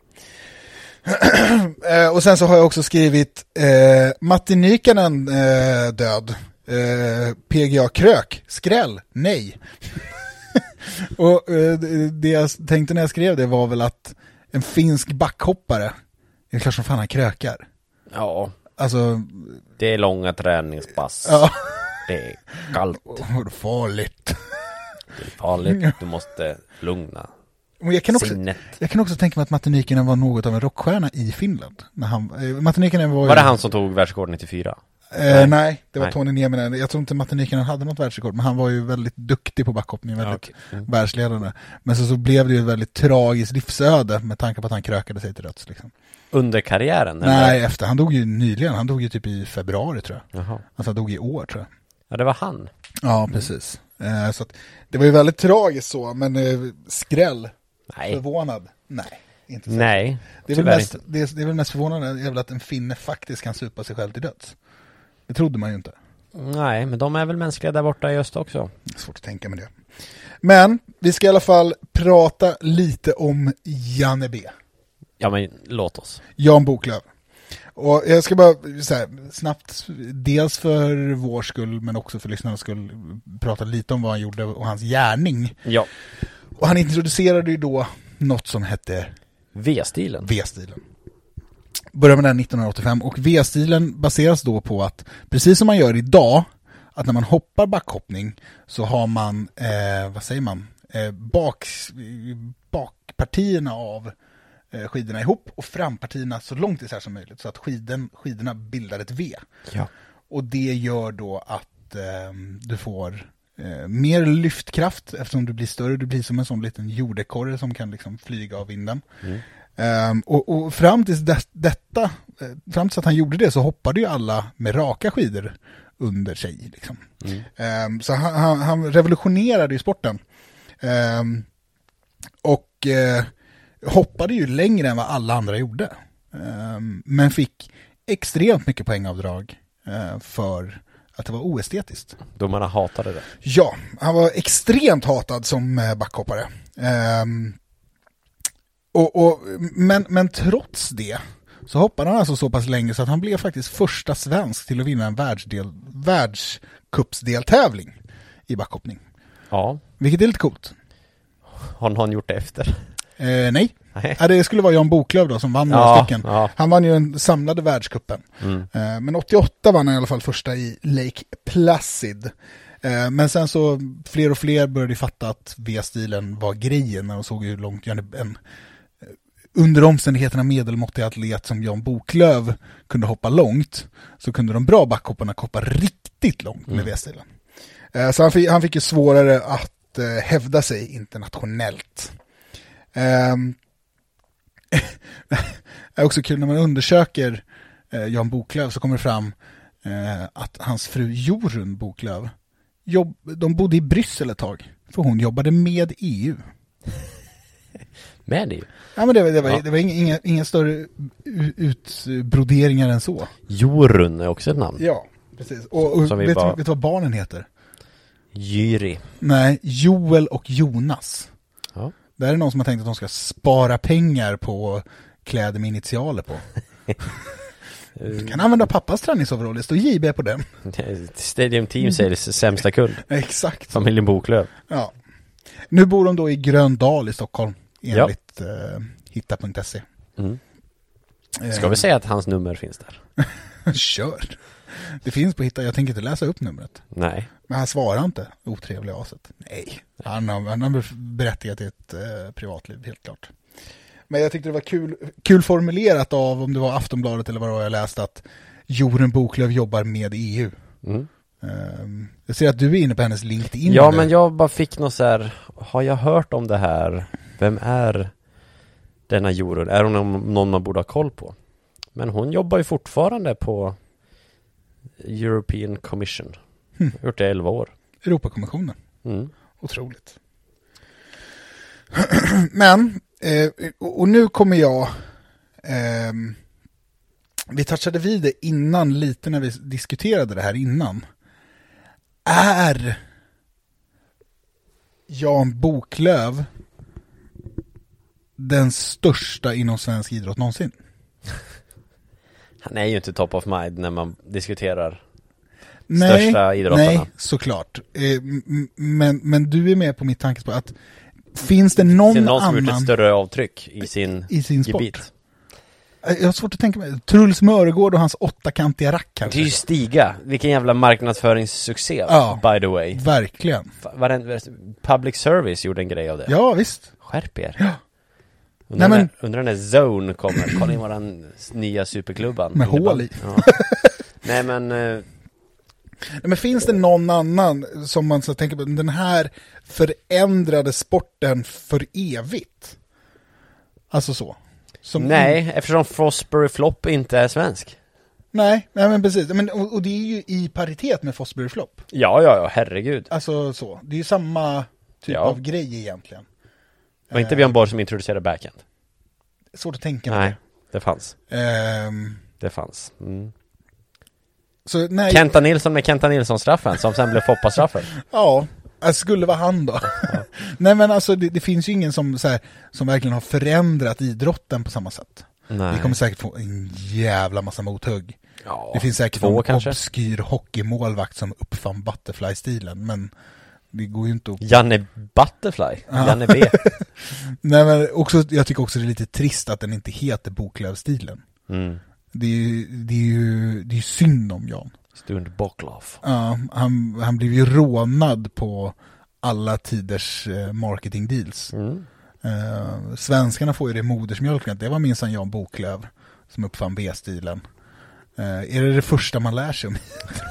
S3: Eh, och sen så har jag också skrivit eh, Matti Nykänen eh, död. Eh, PGA Krök, skräll, nej. och eh, det- det jag tänkte när jag skrev det var väl att en finsk backhoppare, det är klart som fan han krökar.
S5: Ja,
S3: Alltså,
S5: det är långa träningspass.
S3: ja,
S5: Det är kallt,
S3: vad farligt.
S5: det är farligt, du måste lugna
S3: Men jag kan också,
S5: sinnet.
S3: jag kan också tänka mig att Matti Nykänen var något av en rockstjärna i Finland. När han, eh, Matti Nykänen var ju-
S5: Var det han som tog världsrekord 94?
S3: Eh,
S5: Nej.
S3: nej. det var
S5: Nej.
S3: Tony Nieminen. Jag tror inte Matti Nykänen hade något världsrekord, men han var ju väldigt duktig på backhoppning, väldigt
S5: okej. Mm.
S3: världsledande. Men så, så blev det ju ett väldigt tragiskt livsöde med tanke på att han krökade sig till döds. Liksom.
S5: Under karriären? eller?
S3: Nej, efter. Han dog ju nyligen. Han dog ju typ i februari tror jag.
S5: Jaha.
S3: Alltså han dog i år tror jag.
S5: Ja, det var han.
S3: Ja, precis. Eh, så att, det var ju väldigt tragiskt så, men eh, skräll,
S5: Nej.
S3: förvånad. Nej, inte så.
S5: Nej.
S3: det, är väl
S5: tyvärr
S3: mest,
S5: inte.
S3: det, är, det är väl mest förvånande är väl att en finne faktiskt kan supa sig själv till döds. Det trodde man ju inte.
S5: Nej, men de är väl mänskliga där borta i öst också.
S3: Svårt att tänka med det. Men vi ska i alla fall prata lite om Janne B.
S5: Ja, men låt oss.
S3: Jan Boklöv. Och jag ska bara så här, snabbt, dels för vår skull men också för lyssnarnas skull, prata lite om vad han gjorde och hans gärning.
S5: Ja.
S3: Och han introducerade ju då något som hette
S5: V-stilen.
S3: V-stilen. Börjar med den 1985 och V-stilen baseras då på att, precis som man gör idag, att när man hoppar backhoppning så har man, eh, vad säger man, eh, bak, bakpartierna av eh, skidorna ihop och frampartierna så långt isär som möjligt så att skiden, skidorna bildar ett V.
S5: Ja.
S3: Och det gör då att ehm, du får eh, mer lyftkraft eftersom du blir större. Du blir som en sån liten jordekorre som kan liksom flyga av vinden. Ehm, och, och fram tills det, detta, eh, fram tills att han gjorde det så hoppade ju alla med raka skidor under sig. Liksom. Ehm, så han, han, han revolutionerade ju sporten. Ehm, och eh, hoppade ju längre än vad alla andra gjorde. Ehm, men fick extremt mycket poängavdrag eh, för att det var oestetiskt.
S5: Domarna hatade det.
S3: Ja, han var extremt hatad som eh, backhoppare. Ehm, och, och, men, men trots det så hoppade han alltså så pass länge så att han blev faktiskt första svensk till att vinna en världsdel, världscupsdeltävling i backhoppning.
S5: Ja.
S3: Vilket är lite coolt.
S5: Har någon gjort det efter?
S3: Eh, nej.
S5: Nej.
S3: Ja, det skulle vara Jan Boklöv då som vann några
S5: Ja,
S3: stycken.
S5: ja. Mm.
S3: Han vann ju den samlade världscupen. Eh, men 88 vann han i alla fall första i Lake Placid. Eh, men sen så fler och fler började ju fatta att V-stilen var grejen när de såg hur långt Janne, en eh, under omständigheterna medelmåttig atlet som Jan Boklöv kunde hoppa långt så kunde de bra backhopparna hoppa riktigt långt med
S5: Mm.
S3: V-stilen. Eh, Så han fick, han fick ju svårare att eh, hävda sig internationellt. Ehm, det är också kul när man undersöker eh, Jan Boklöv så kommer det fram eh, att hans fru Jorun Boklöv, jobb, de bodde i Bryssel ett tag. För hon jobbade med EU.
S5: Med EU.
S3: Ja, men det var, det var,
S5: Ja.
S3: det var inga, inga, inga större u- utbroderingar än så.
S5: Jorun är också ett namn.
S3: Ja, precis. Och, och
S5: Som vi
S3: vet,
S5: bara-
S3: du- vet du vad barnen heter?
S5: Jyri.
S3: Nej, Joel och Jonas.
S5: Ja.
S3: Där är någon som har tänkt att de ska spara pengar på kläder med initialer på. Du kan använda pappas träningsoverall, det står JB på den.
S5: Stadium Team säljs sämsta kund.
S3: Exakt.
S5: Familjen Boklöv.
S3: Ja. Nu bor de då i Gröndal i Stockholm,
S5: Ja.
S3: enligt eh, hitta.se.
S5: Mm.
S3: Eh,
S5: Ska vi säga att hans nummer finns där?
S3: Kör. Det finns på Hitta, jag tänker inte läsa upp numret.
S5: Nej.
S3: Men han svarar inte, otrevliga aset. Nej, han har, han har berättigat till ett eh, privatliv, helt klart. Men jag tyckte det var kul, kul formulerat av, om det var Aftonbladet eller vad det var jag läste, att Jorun Boklöv jobbar med EU.
S5: Mm.
S3: Ehm, jag ser att du är inne på hennes LinkedIn.
S5: Ja,
S3: nu.
S5: men jag bara fick något så här, har jag hört om det här? Vem är denna Jorun? Är hon någon- någon man borde ha koll på? Men hon jobbar ju fortfarande på European Commission.
S3: Hmm.
S5: Gjort det i 11 år.
S3: Europakommissionen.
S5: Mm.
S3: Otroligt. Men, eh, och och nu kommer jag... ehm, vi touchade vid det innan, lite när vi diskuterade det här innan. Är Jan Boklöv den största inom svensk idrott någonsin?
S5: Han är ju inte top of mind när man diskuterar. Största idrottarna.
S3: Nej, såklart. Eh, m- m- men, men du är med på mitt tankespår att finns det någon,
S5: Det är någon som har gjort ett
S3: annan...
S5: större avtryck i sin,
S3: i sin sport.
S5: gebit.
S3: Eh, Jag har svårt att tänka mig. Truls Mörgård och hans åttakantiga rack
S5: Det
S3: kanske.
S5: är ju Stiga, vilken jävla marknadsföringssuccé,
S3: Ja.
S5: by the way.
S3: Verkligen.
S5: Fa- Varenda, public service gjorde en grej av det.
S3: Ja, visst.
S5: Skärp er.
S3: Ja.
S5: Undrar,
S3: Nej, men-
S5: när, undrar när Zone kommer, kolla in våran nya superklubban.
S3: Med hål
S5: Innebandy.
S3: i.
S5: Ja. Nej men, eh,
S3: Nej, Men finns det någon annan som man så tänker på, den här förändrade sporten för evigt? Alltså så. Som-
S5: nej, eftersom Frostbury Flop inte är svensk.
S3: Nej, nej men precis. Men, och, och det är ju i paritet med Fosbury Flop.
S5: Ja, ja, ja, herregud.
S3: Alltså så. Det är ju samma typ
S5: Ja.
S3: av grej egentligen.
S5: Var
S3: Eh.
S5: inte Björn Borg som introducerade backhand?
S3: Svårt att tänka
S5: Nej,
S3: mig.
S5: det fanns.
S3: Ehm,
S5: Det fanns. Mm.
S3: så nej,
S5: Kenta Nilsson med Kenta Nilsson-straffen, som sen blev Foppa-straffen.
S3: Ja, det skulle vara han då. Nej men alltså det, det finns ju ingen som, så här, som verkligen har förändrat idrotten på samma sätt.
S5: Nej.
S3: Vi kommer säkert få en jävla massa mothugg.
S5: ja,
S3: det finns säkert
S5: två
S3: någon
S5: kanske.
S3: obskyr hockeymålvakt som uppfann butterfly-stilen, men det går ju inte att...
S5: Janne Butterfly, Janne B. Mm.
S3: Nej men också, jag tycker också det är lite trist att den inte heter Boklövstilen.
S5: Mm.
S3: Det är ju, det är ju, det är ju synd om Jan.
S5: Stund Bokloff.
S3: Ja, han, han blev ju rånad på alla tiders eh, marketing deals.
S5: Mm.
S3: Eh, svenskarna får ju det i modersmjölken, att det var minsann Jan Boklöv som uppfann B-stilen. Eh, är det det första man lär sig om?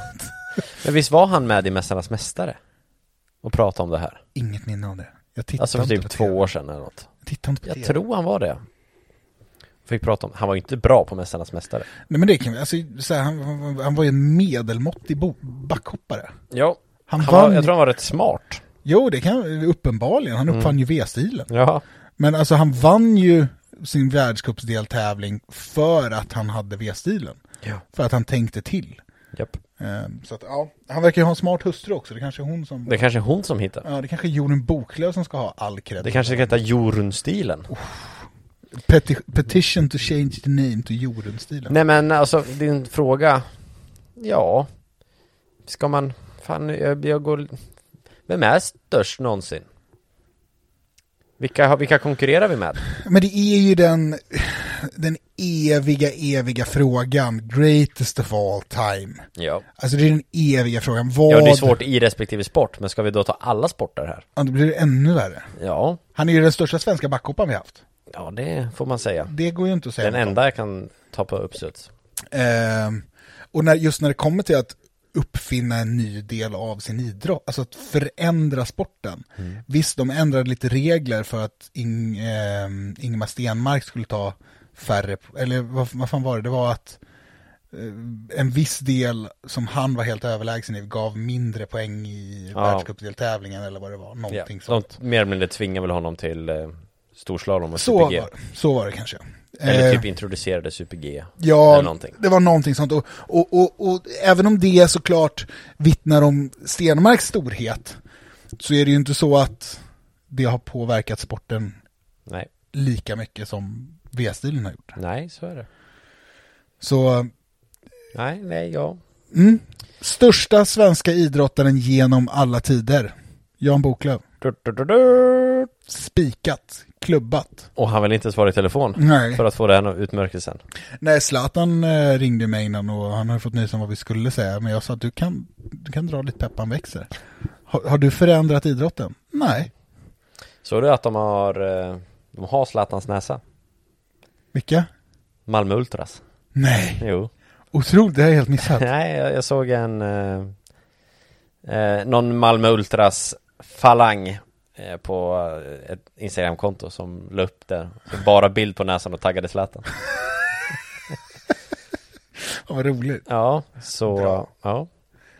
S5: Men visst var han med i Mästarnas Mästare? Och pratade om det här?
S3: Inget minne av det. Jag tittar
S5: Alltså för
S3: inte
S5: typ
S3: på
S5: två
S3: TV.
S5: år sedan eller något.
S3: Jag tittar inte på
S5: Jag
S3: TV.
S5: tror han var det. Fick prata om, han var ju inte bra på Mästarnas Mästare.
S3: Nej men det kan vi, alltså, så här, han, han, han var ju en medelmåttig bo- backhoppare.
S5: Ja,
S3: Han,
S5: han
S3: vann,
S5: var, jag tror han var rätt smart.
S3: jo det kan, uppenbarligen,
S5: Mm.
S3: han uppfann ju V-stilen.
S5: Ja,
S3: Men alltså han vann ju sin världscupsdeltävling för att han hade V-stilen.
S5: Ja.
S3: För att han tänkte till.
S5: japp.
S3: Eh, så att, ja, han verkar ju ha en smart hustru också, det kanske är hon som...
S5: Det är kanske är hon som hittade.
S3: Ja, det kanske är Jorun Boklöv som ska ha all cred.
S5: Det kanske ska heta Jorunstilen.
S3: Peti- petition to change the name to Jorun-stilen.
S5: Nej men alltså, din fråga. Ja. Ska man, fan jag, jag går, vem är störst någonsin? Vilka, har- vilka konkurrerar vi med?
S3: Men det är ju den, den eviga, eviga frågan. Greatest of all time.
S5: Ja.
S3: Alltså det är den eviga frågan. Vad...
S5: Ja, det är svårt i respektive sport, men ska vi då ta alla sporter här?
S3: Ja, då blir det ännu värre.
S5: Ja,
S3: Han är ju den största svenska backhopparen vi haft.
S5: ja det får man säga.
S3: Det går ju inte att säga.
S5: Den
S3: något om.
S5: enda jag kan ta på uppstuds.
S3: Ehm, och när, just när det kommer till att uppfinna en ny del av sin idrott, alltså att förändra sporten.
S5: Mm.
S3: Visst, de ändrade lite regler för att Ing, ehm, Ingemar Stenmark skulle ta färre, eller vad, vad fan var det, det var att eh, en viss del som han var helt överlägsen i gav mindre poäng i
S5: Ja.
S3: världscupdeltävlingen eller vad det var.
S5: Ja,
S3: Någonting
S5: de
S3: sånt.
S5: mer eller mindre tvingar väl honom till eh, storslalom och
S3: Så var,
S5: super-G.
S3: det. så var det kanske.
S5: Alltså, Eller
S3: Eh,
S5: typ introducerade super-G. eller
S3: Ja,
S5: någonting.
S3: det var någonting sånt. Och, och, och, och även om det såklart vittnar om Stenmarks storhet så är det ju inte så att det har påverkat sporten
S5: Nej,
S3: lika mycket som V-stilen har gjort.
S5: nej, så är det.
S3: Så,
S5: Nej, nej, ja.
S3: mm. Största svenska idrottaren genom alla tider. Jan Boklöv.
S5: Du, du, du, du.
S3: Spikat. Klubbat.
S5: Och han vill inte svara i telefon
S3: Nej.
S5: för att få den utmärkelsen.
S3: Nej, Zlatan eh, ringde mig innan och han hade fått nys om vad vi skulle säga. Men jag sa att du kan, du kan dra ditt peppan växer. Har, har du förändrat idrotten? Nej.
S5: Såg du att de har, eh, de har Zlatans näsa?
S3: Vilka?
S5: Malmö Ultras.
S3: Nej.
S5: Jo.
S3: Otroligt, det har jag helt missat.
S5: Nej, jag, jag såg en, eh, eh, någon Malmö Ultras falang eh, på eh, ett Instagramkonto som la upp där. Bara bild på näsan och taggade Zlatan.
S3: Ja, vad roligt.
S5: Ja, så,
S3: Bra.
S5: ja.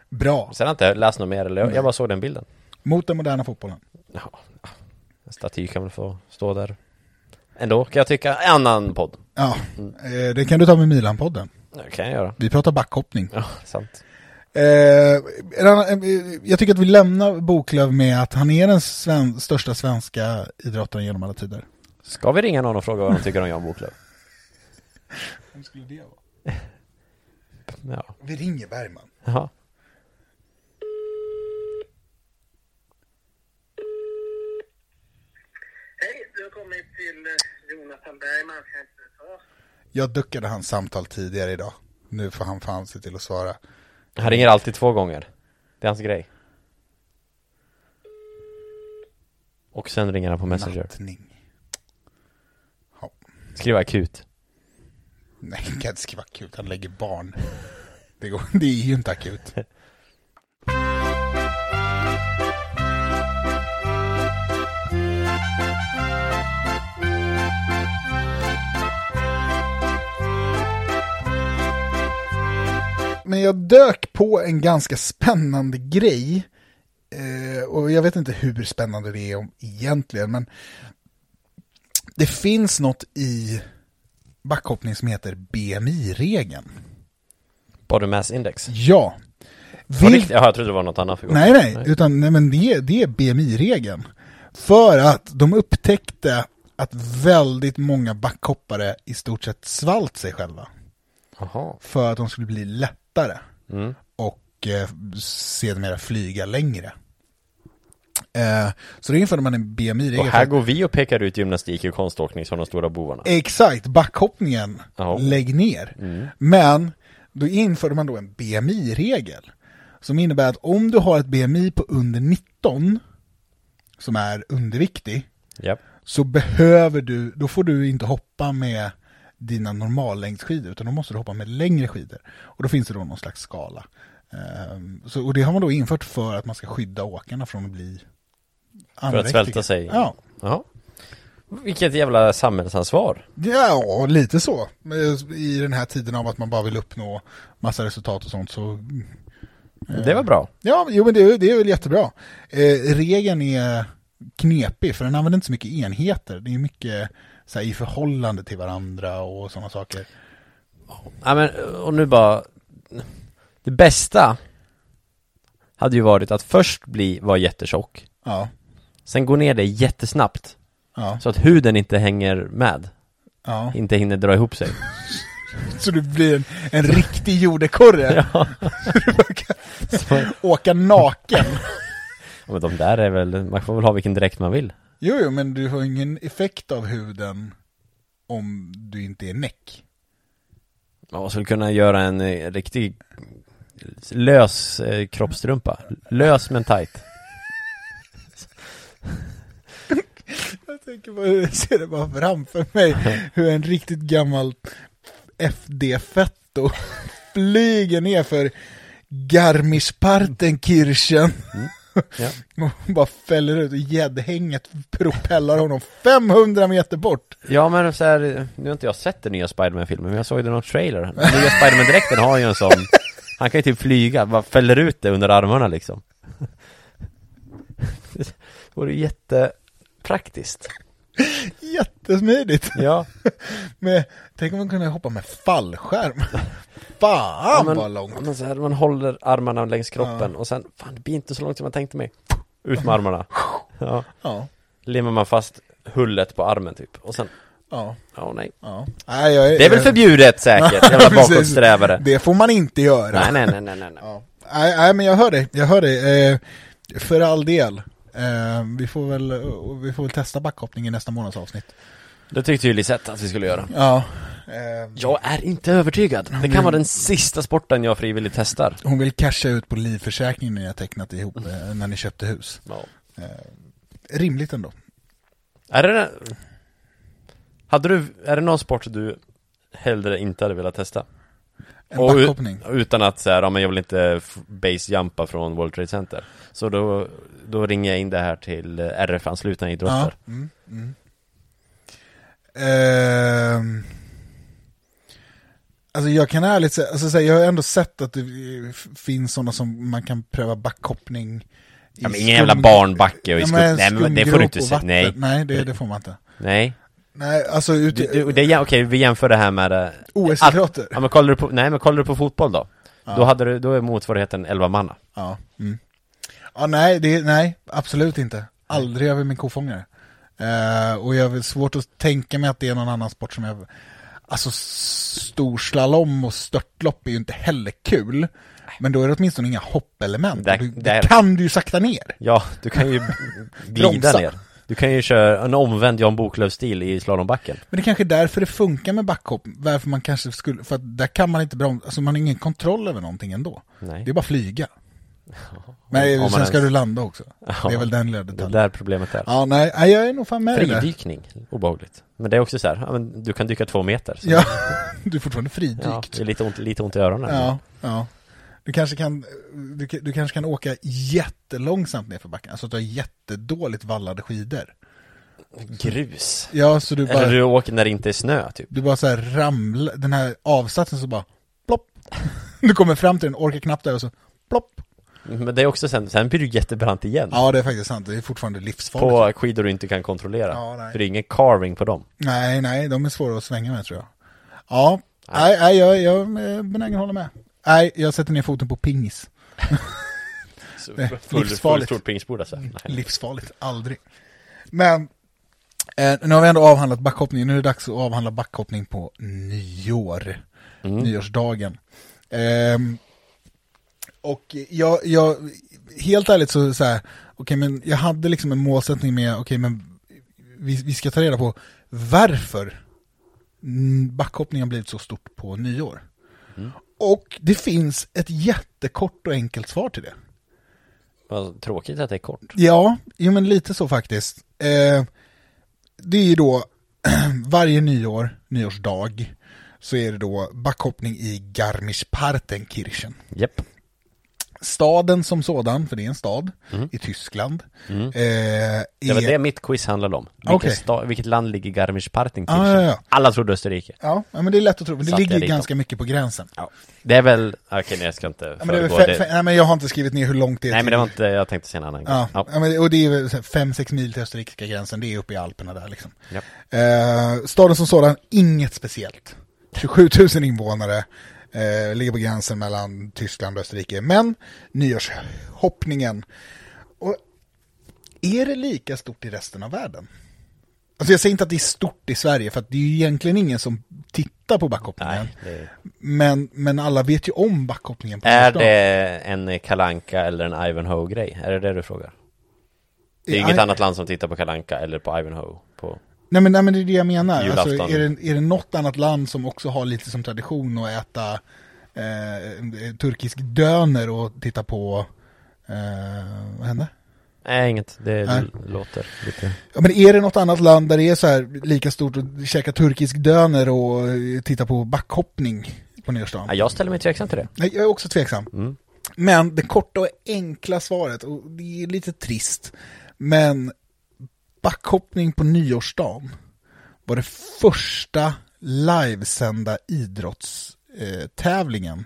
S3: Bra.
S5: Sen har jag inte läst något mer, eller jag, jag bara såg den bilden.
S3: Mot den moderna fotbollen.
S5: Ja, en staty kan väl få stå där ändå, kan jag tycka. En annan podd.
S3: Ja, eh, det kan du ta med Milan-podden.
S5: Det kan jag göra.
S3: Vi pratar backhoppning.
S5: Ja, sant.
S3: Eh, en annan- eh, jag tycker att vi lämnar Boklöv med att han är den sven- största svenska idrottaren genom alla tider.
S5: Ska vi ringa någon och fråga vad de tycker om Jan Boklöv?
S3: Vem skulle det vara?
S5: Ja.
S3: Vi ringer Bergman.
S5: Jaha.
S6: Hej, du har kommit till eh, Jonathan Bergman. Kan inte ta.
S3: Jag duckade hans samtal tidigare idag. Nu får han fan se till att svara.
S5: Han ringer alltid två gånger. Det är hans grej. Och sen ringer han på Messenger.
S3: Nattning.
S5: Skriv akut.
S3: Nej, det kan inte skriva akut. Han lägger barn. Det, går, det är ju inte akut. Men jag dök på en ganska spännande grej. Eh, och jag vet inte hur spännande det är om egentligen, men det finns något i backhoppning som heter BMI-regeln.
S5: Body mass index.
S3: Ja.
S5: På
S3: Vil-
S5: riktigt? Jaha, jag trodde det var något annat. För
S3: nej, nej, utan nej, men det, det är BMI-regeln. För att de upptäckte att väldigt många backhoppare i stort sett svalt sig själva.
S5: Jaha.
S3: För att de skulle bli lättare.
S5: Mm.
S3: Och eh, sedermera flyga längre. Eh, så då införde man en BMI-regel.
S5: Och
S3: för
S5: här
S3: att-
S5: går vi och pekar ut gymnastik och konståkning som de stora bovarna.
S3: Exakt, backhoppningen.
S5: Ja. Mm.
S3: Lägg ner. Men då införde man då en BMI-regel. Som innebär att om du har ett BMI på under 19, som är underviktig,
S5: Japp.
S3: så behöver du, då får du inte hoppa med dina normallängdsskidor, utan då måste du hoppa med längre skidor. Och då finns det då någon slags skala. Ehm, så, och det har man då infört för att man ska skydda åkarna från att bli
S5: För att
S3: anorektiker.
S5: svälta sig.
S3: Ja.
S5: Jaha. Vilket jävla samhällsansvar.
S3: Ja, lite så. Men I den här tiden av att man bara vill uppnå massa resultat och sånt så...
S5: Det var bra.
S3: Ja, jo men det, är- det är väl jättebra. Eh, regeln är knepig för den använder inte så mycket enheter. Det är mycket så här, i förhållande till varandra och sådana saker.
S5: Ja men, och nu bara Det bästa Hade ju varit att först bli, vara jättetjock
S3: Ja,
S5: Sen gå ner det jättesnabbt
S3: ja,
S5: Så att huden inte hänger med
S3: ja.
S5: Inte hinner dra ihop sig
S3: Så du blir en, en riktig jordekorre.
S5: Ja Så,
S3: Åka naken.
S5: ja, men de där är väl, man får väl ha vilken dräkt man vill
S3: Jo, jo, men du har ingen effekt av huden om du inte är näck.
S5: Man skulle kunna göra en eh, riktig Lös eh, kroppstrumpa Lös men tight
S3: Jag tänker på, jag ser det bara framför mig hur en riktigt gammal FD-fetto flyger ner för Garmisch-Partenkirchen
S5: Mm. Ja.
S3: Och bara fäller ut och gäddhänget propellar honom 500 meter bort.
S5: Ja men så här, nu har inte jag sett den nya Spiderman-filmen, men jag såg den i någon trailer Den nya Spiderman-dräkten har ju en sån Han kan ju typ flyga, bara fäller ut det under armarna liksom Det vore ju jättepraktiskt
S3: Jättesmidigt.
S5: Ja,
S3: Men, tänk om man kunde hoppa med fallskärm. Fan
S5: men,
S3: vad långt.
S5: men så här, man håller armarna längs kroppen och sen, fan det blir inte så långt som man tänkte mig Ut med armarna Ja,
S3: Ja,
S5: limmar man fast hullet på armen typ och sen,
S3: ja,
S5: ja nej
S3: ja. Nej, jag,
S5: Det är väl förbjudet säkert, jävla
S3: Precis.
S5: bakåtsträvare
S3: Det får man inte göra.
S5: Nej nej nej nej nej, nej.
S3: Ja. Nej, nej, men jag hör dig, jag hör dig. Eh, för all del. Eh, vi, får väl, vi får väl testa backhoppning i nästa månads avsnitt.
S5: Det tyckte ju Lisette att vi skulle göra
S3: Ja. Eh,
S5: Jag är inte övertygad. Det kan vara den sista sporten jag frivilligt testar.
S3: Hon vill casha ut på livförsäkringen ni har tecknat ihop eh, när ni köpte hus. Rimligt ändå.
S5: Är det Hade du, är det någon sport du hellre inte hade velat testa?
S3: En
S5: Och ut-
S3: backhoppning.
S5: utan att säga, ja men jag vill inte f- basejumpa från World Trade Center. Så då, då ringer jag in det här till eh, RF-anslutna
S3: Ja.
S5: idrotter.
S3: Mm, mm. Ehm. Alltså jag kan ärligt säga, alltså så här, jag har ändå sett att det eh, f- finns sådana som man kan pröva backhoppning i
S5: Ja, men
S3: skum-
S5: ingen jävla barnbacke och i
S3: Ja,
S5: skum...
S3: men
S5: Nej men det får
S3: skumgrop
S5: du inte
S3: och
S5: säga.
S3: vatten.
S5: Nej.
S3: Nej, det, det får man inte.
S5: Nej.
S3: Nej, alltså ut,
S5: Du, du, det, är- okej, vi jämför det här med... eh,
S3: OS-idrotter.
S5: Ja men kollar du på, nej men kollar du på fotboll då? Då hade du, då är motsvarigheten 11 manna.
S3: Ja, mm. ja nej, det, nej, absolut inte. Aldrig över min kofångare. Eh, och jag har svårt att tänka mig att det är någon annan sport som jag... Alltså storslalom och störtlopp är ju inte heller kul. Men då är det åtminstone inga hoppelement.
S5: Där-
S3: Och du,
S5: där-
S3: det kan du ju sakta ner.
S5: Ja, du kan ju glida
S3: Bromsa.
S5: ner. Du kan ju köra en omvänd Jan Boklöv-stil i slalombacken.
S3: Men det är kanske är därför det funkar med backhopp. Varför man kanske skulle... För att där kan man inte bromsa. Alltså man har ingen kontroll över någonting ändå.
S5: Nej.
S3: Det är bara flyga. Men
S5: om man
S3: sen ska du
S5: ens-
S3: landa också. Det är väl den lilla
S5: Det är
S3: detaljen.
S5: där problemet är.
S3: Ja, nej, nej, jag är nog fan med i det. där.
S5: Fridykning, obehagligt. Men det är också så här, ja, men du kan dyka två meter. Så
S3: Ja, du är fortfarande
S5: ja, det
S3: fridykt.
S5: är lite ont, lite ont i öronen.
S3: Ja, ja. Du kanske kan, du, du kanske kan åka jättelångsamt nerför backen, alltså att du har jättedåligt vallade skidor.
S5: Grus.
S3: Ja, så du bara,
S5: Eller
S3: du...
S5: du åker när det inte är snö, typ.
S3: bara så här ramlar, den här avsatsen så bara plopp. Du kommer fram till den, orkar knappt där och så plopp.
S5: Men det är också sen, sen blir du jättebrant igen.
S3: Ja, det är faktiskt sant, det är fortfarande livsfarligt.
S5: På skidor du inte kan kontrollera.
S3: Ja, nej.
S5: För det är ingen carving på dem.
S3: Nej, nej, de är svåra att svänga med tror jag. Ja, nej, nej jag, jag är benägen att hålla med. Nej, jag sätter ner foten på pingis.
S5: Så
S3: Nej,
S5: full-
S3: livsfarligt.
S5: Full, full pingisbord alltså. Nej.
S3: Livsfarligt, aldrig. Men eh, nu har vi ändå avhandlat backhoppning, nu är det dags att avhandla backhoppning på nyår. Nyårsdagen. Ehm, och jag, jag, helt ärligt så, så här, okej men jag hade liksom en målsättning med, okej men vi, vi ska ta reda på varför mm, backhoppning har blivit så stort på nyår. Och det finns ett jättekort och enkelt svar till det.
S5: Vad tråkigt att det är kort.
S3: Ja, jo men lite så faktiskt. Eh, det är ju då varje nyår, nyårsdag, så är det då backhoppning i Garmisch-Partenkirchen.
S5: Japp.
S3: Staden som sådan, för det är en stad
S5: Mm.
S3: i Tyskland. Eh,
S5: Det var
S3: är-
S5: Mm. det mitt quiz handlade om. Vilket,
S3: Okej.
S5: sta- vilket land ligger Garmisch-Partenkirchen?
S3: Ah, ja, ja.
S5: Alla trodde Österrike.
S3: Ja, ja, men det är lätt att tro, men det
S5: Satte jag
S3: ligger
S5: dit
S3: ganska mycket på gränsen. Ja,
S5: Det är väl, okej nej, jag ska inte
S3: men det är väl
S5: föregå
S3: fe-
S5: det.
S3: fe- nej, men jag har inte skrivit ner hur långt det är
S5: Nej men
S3: till-
S5: det var inte, jag tänkte säga en annan
S3: Ja,
S5: gång.
S3: ja. men, det- och det är väl så här fem sex mil till österrikiska gränsen, det är uppe i Alperna där liksom.
S5: Ja.
S3: Eh, staden som sådan, inget speciellt. 27 000 invånare, eh, ligger på gränsen mellan Tyskland och Österrike. Men nyårshoppningen, och är det lika stort i resten av världen? Alltså jag säger inte att det är stort i Sverige, för att det är ju egentligen ingen som tittar på backhoppningen.
S5: Nej, det är...
S3: Men, men alla vet ju om backhoppningen på
S5: är
S3: nyårsdagen.
S5: det en Kalanka eller en Ivanhoe grej? Är det det du frågar? Det är
S3: I-
S5: inget annat land som tittar på Kalanka eller på Ivanhoe på...
S3: Nej men, nej men det är det jag menar. Alltså,
S5: Julafton.
S3: är, det, är det något annat land som också har lite som tradition att äta eh, turkisk döner och titta på, eh, vad hände?
S5: Nej inget, det
S3: Nej.
S5: låter lite...
S3: Ja men är det något annat land där det är så här lika stort att käka turkisk döner och eh, titta på backhoppning på nyårsdagen?
S5: Nej, jag ställer mig tveksam till det Mm.
S3: Nej, jag är också tveksam. Men det korta och enkla svaret, och det är lite trist, men backhoppning på nyårsdagen var det första livesända idrottstävlingen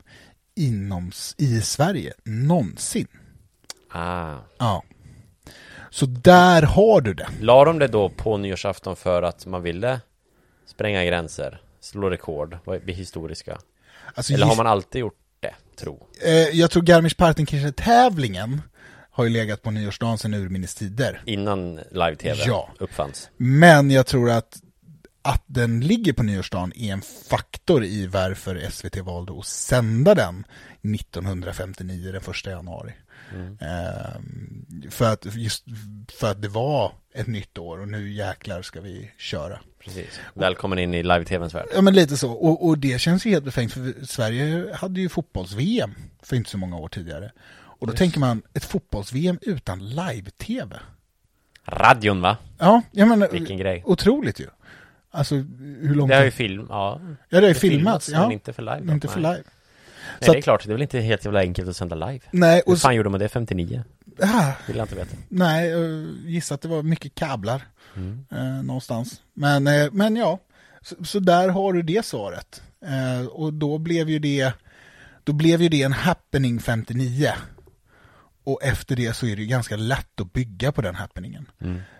S3: inom, i Sverige någonsin.
S5: Ah.
S3: Ja. Så där har du det.
S5: La de det då på nyårsafton för att man ville spränga gränser, slå rekord, vad- bli historiska?
S3: Alltså,
S5: Eller
S3: giss-
S5: har man alltid gjort det, tro?
S3: eh, jag tror Garmisch-Partenkirchen-tävlingen har ju legat på nyårsdagen sedan urminnes tider.
S5: Innan live-tv
S3: Ja.
S5: uppfanns?
S3: Men jag tror att, att den ligger på nyårsdagen är en faktor i varför SVT valde att sända den 1959, den 1 januari.
S5: Mm.
S3: Ehm, för, att, just för att det var ett nytt år och nu jäklar ska vi köra.
S5: Precis. Välkommen in i live-tvns värld.
S3: Ja men lite så, och, och det känns ju helt befängt för Sverige hade ju fotbolls-VM för inte så många år tidigare. Och då tänker man, ett fotbolls-VM utan live-tv?
S5: Radion va?
S3: Ja, jag menar,
S5: Vilken grej.
S3: otroligt ju. Alltså hur långt...
S5: Det har ju film, ja.
S3: Ja, det har ju
S5: Det
S3: filmats.
S5: filmas, men
S3: ja.
S5: inte för live då,
S3: Inte för
S5: nej.
S3: live.
S5: Nej
S3: Så
S5: det är
S3: att-
S5: klart, det är väl inte helt jävla enkelt att sända live?
S3: Nej,
S5: Hur
S3: och så,
S5: fan gjorde man det 59?
S3: ah,
S5: Vill jag inte veta.
S3: nej, eh, gissa att det var mycket kablar
S5: Mm.
S3: eh, någonstans. Men, eh, men ja, så, så där har du det svaret. Eh, och då blev ju det, då blev ju det en happening 59. Och efter det så är det ju ganska lätt att bygga på den happeningen.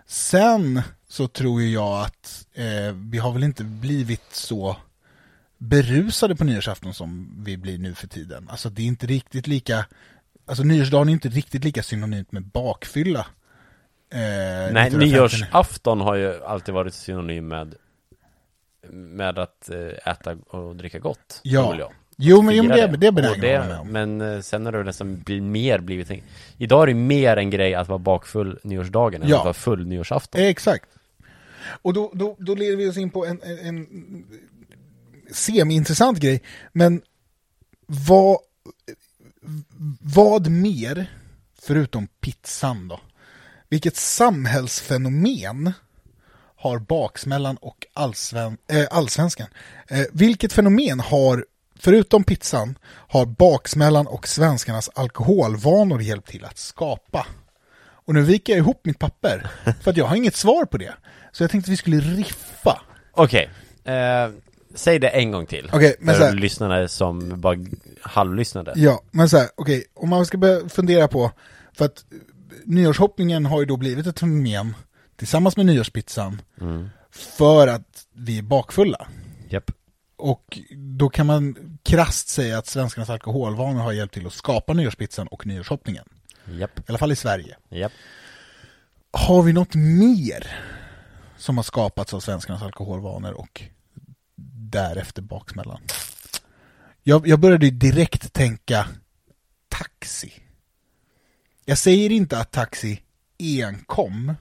S3: Sen så tror ju jag att eh, vi har väl inte blivit så berusade på nyårsafton som vi blir nu för tiden. Alltså det är inte riktigt lika, alltså nyårsdagen är inte riktigt lika synonymt med bakfylla. eh,
S5: Nej,
S3: 1959.
S5: nyårsafton har ju alltid varit synonym med med att eh, äta och dricka gott. tror
S3: Ja.
S5: jag.
S3: Jo, men, jo, men
S5: Fira
S3: det, det är benägen
S5: Och
S3: att hålla med om.
S5: Men eh, sen har det nästan bli- mer blivit en... Idag är det mer en grej att vara bakfull nyårsdagen än
S3: Ja.
S5: att vara full nyårsafton.
S3: Eh, Exakt. Och då, då, då leder vi oss in på en, en, en semi-intressant grej. Men vad, vad mer, förutom pizzan då, vilket samhällsfenomen har baksmällan och allsven, eh, allsvenskan? Eh, vilket fenomen har, förutom pizzan, har baksmällan och svenskarnas alkoholvanor hjälpt till att skapa? Och nu viker jag ihop mitt papper, för att jag har inget svar på det. Så jag tänkte att vi skulle riffa.
S5: Okej, eh, säg det en gång till.
S3: Okej, men så
S5: För
S3: här-
S5: lyssnarna som bara halvlyssnade.
S3: Ja, men så här, okej, om man ska börja fundera på, för att eh, nyårshoppningen har ju då blivit ett fenomen, tillsammans med nyårspizzan, för att vi är bakfulla.
S5: Japp.
S3: Och då kan man krasst säga att svenskarnas alkoholvanor har hjälpt till att skapa nyårspizzan och nyårshoppningen.
S5: Japp.
S3: I alla fall i Sverige.
S5: Japp.
S3: Har vi något mer som har skapats av svenskarnas alkoholvanor och därefter baksmällan? Jag, jag började ju direkt tänka taxi. Jag säger inte att taxi enkom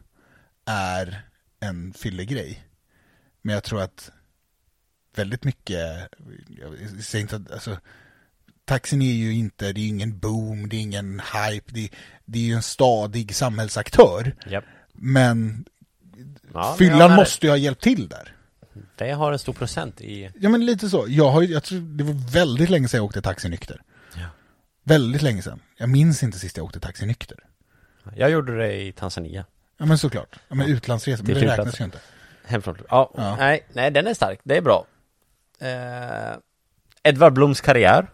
S3: är en fyllegrej. Men jag tror att väldigt mycket, jag säger inte att, alltså, taxin är ju inte, det är ingen boom, det är ingen hype, det, det är ju en stadig samhällsaktör.
S5: Japp.
S3: Men
S5: Ja, men jag
S3: fyllan
S5: menar,
S3: måste ju ha hjälpt till där.
S5: Det har en stor procent i...
S3: Ja men lite så. Jag har ju, jag tror, det var väldigt länge sedan jag åkte taxi nykter.
S5: Ja.
S3: Väldigt länge sedan. Jag minns inte sist jag åkte taxi nykter.
S5: Jag gjorde det i Tanzania.
S3: Ja men såklart. Ja, men utlandsresor, men
S5: Det
S3: det
S5: är typ flygplats.
S3: räknas ju inte.
S5: Hemifrån. Ja,
S3: Ja.
S5: Nej, nej, den är stark. Det är bra. Eh, Edvard Bloms karriär.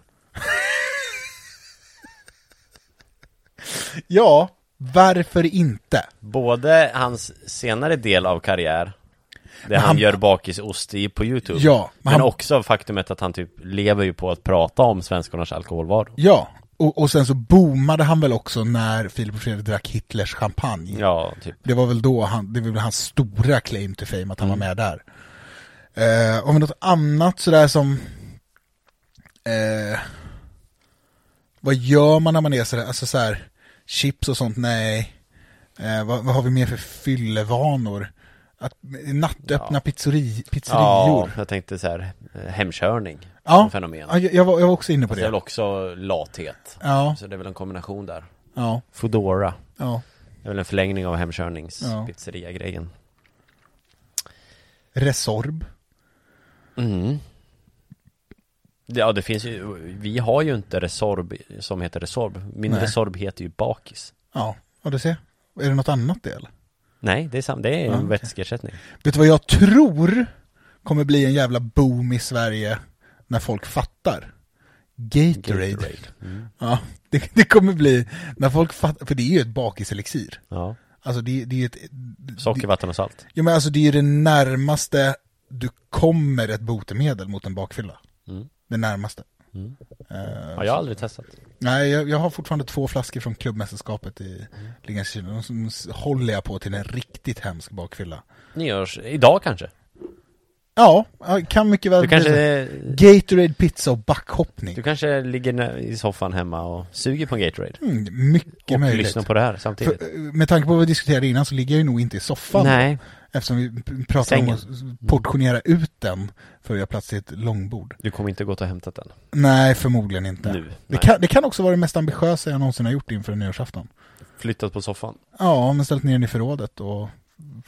S3: Ja, varför inte?
S5: Både hans senare del av karriär, där han,
S3: han-
S5: gör bakisost i på YouTube.
S3: Ja, men
S5: men
S3: han-
S5: också faktumet att han typ lever ju på att prata om svenskarnas alkoholvaror.
S3: Ja, och, och sen så boomade han väl också när Filip och Fredrik drack Hitlers champagne.
S5: Ja, typ.
S3: Det var väl då han, det var väl hans stora claim to fame att han
S5: Mm.
S3: var med där. Eh, om något annat sådär som... Eh, vad gör man när man är sådär, alltså såhär, chips och sånt, nej. Eh, vad, vad har vi mer för fyllevanor? Att eh, nattöppna
S5: Ja.
S3: pizzeri,
S5: Ja,
S3: pizzerior.
S5: jag tänkte så här, eh, hemkörning.
S3: Ja,
S5: som Fenomen. Alltså,
S3: ja jag, jag, var, jag var också inne på
S5: det är väl
S3: det.
S5: också lathet.
S3: Ja,
S5: Så det är väl en kombination där.
S3: ja,
S5: Foodora.
S3: ja.
S5: Det är väl en förlängning av
S3: Ja.
S5: hemkörningspizzeria-grejen.
S3: Resorb.
S5: Mm. Ja, det finns ju, vi har ju inte Resorb som heter Resorb. Min
S3: Nej.
S5: Resorb heter ju Bakis.
S3: Ja, och du ser. Är det något annat det eller?
S5: Nej, det är sant. Det är en
S3: Ja, okej.
S5: vätskeersättning.
S3: Vet du vad jag tror kommer bli en jävla boom i Sverige när folk fattar? Gatorade.
S5: Mm.
S3: Ja, det, det kommer bli, när folk fattar, för det är ju ett bakiselixir.
S5: Ja.
S3: Alltså det, det är ju ett...
S5: Socker, vatten och salt.
S3: Ja men alltså det är ju det närmaste du kommer ett botemedel mot en bakfylla.
S5: Mm.
S3: Det närmaste.
S5: Mm.
S3: Eh,
S5: Ja, jag har aldrig testat.
S3: Nej, jag, jag har fortfarande två flaskor från klubbmästerskapet i Linköping. De som s- håller jag på till en riktigt hemsk bakfylla.
S5: Nyårs... Idag kanske?
S3: Ja, ja, kan mycket väl
S5: Du
S3: bli så.
S5: kanske,
S3: Gatorade pizza och backhoppning.
S5: du kanske ligger nä- i soffan hemma och suger på en Gatorade?
S3: Mm, mycket
S5: Och
S3: möjligt.
S5: lyssnar på det här samtidigt?
S3: För, eh, med tanke på vad vi diskuterade innan så ligger jag ju nog inte i soffan.
S5: Nej,
S3: Eftersom vi p- pratar om
S5: Sängen.
S3: att s- portionera ut den för att göra plats till ett långbord.
S5: du kommer inte gått och hämtat den.
S3: Nej, förmodligen inte.
S5: Nu.
S3: Det,
S5: Nej.
S3: kan, det kan också vara det mest ambitiösa jag någonsin har gjort inför en nyårsafton.
S5: Flyttat på soffan,
S3: Ja, men ställt ner den i förrådet och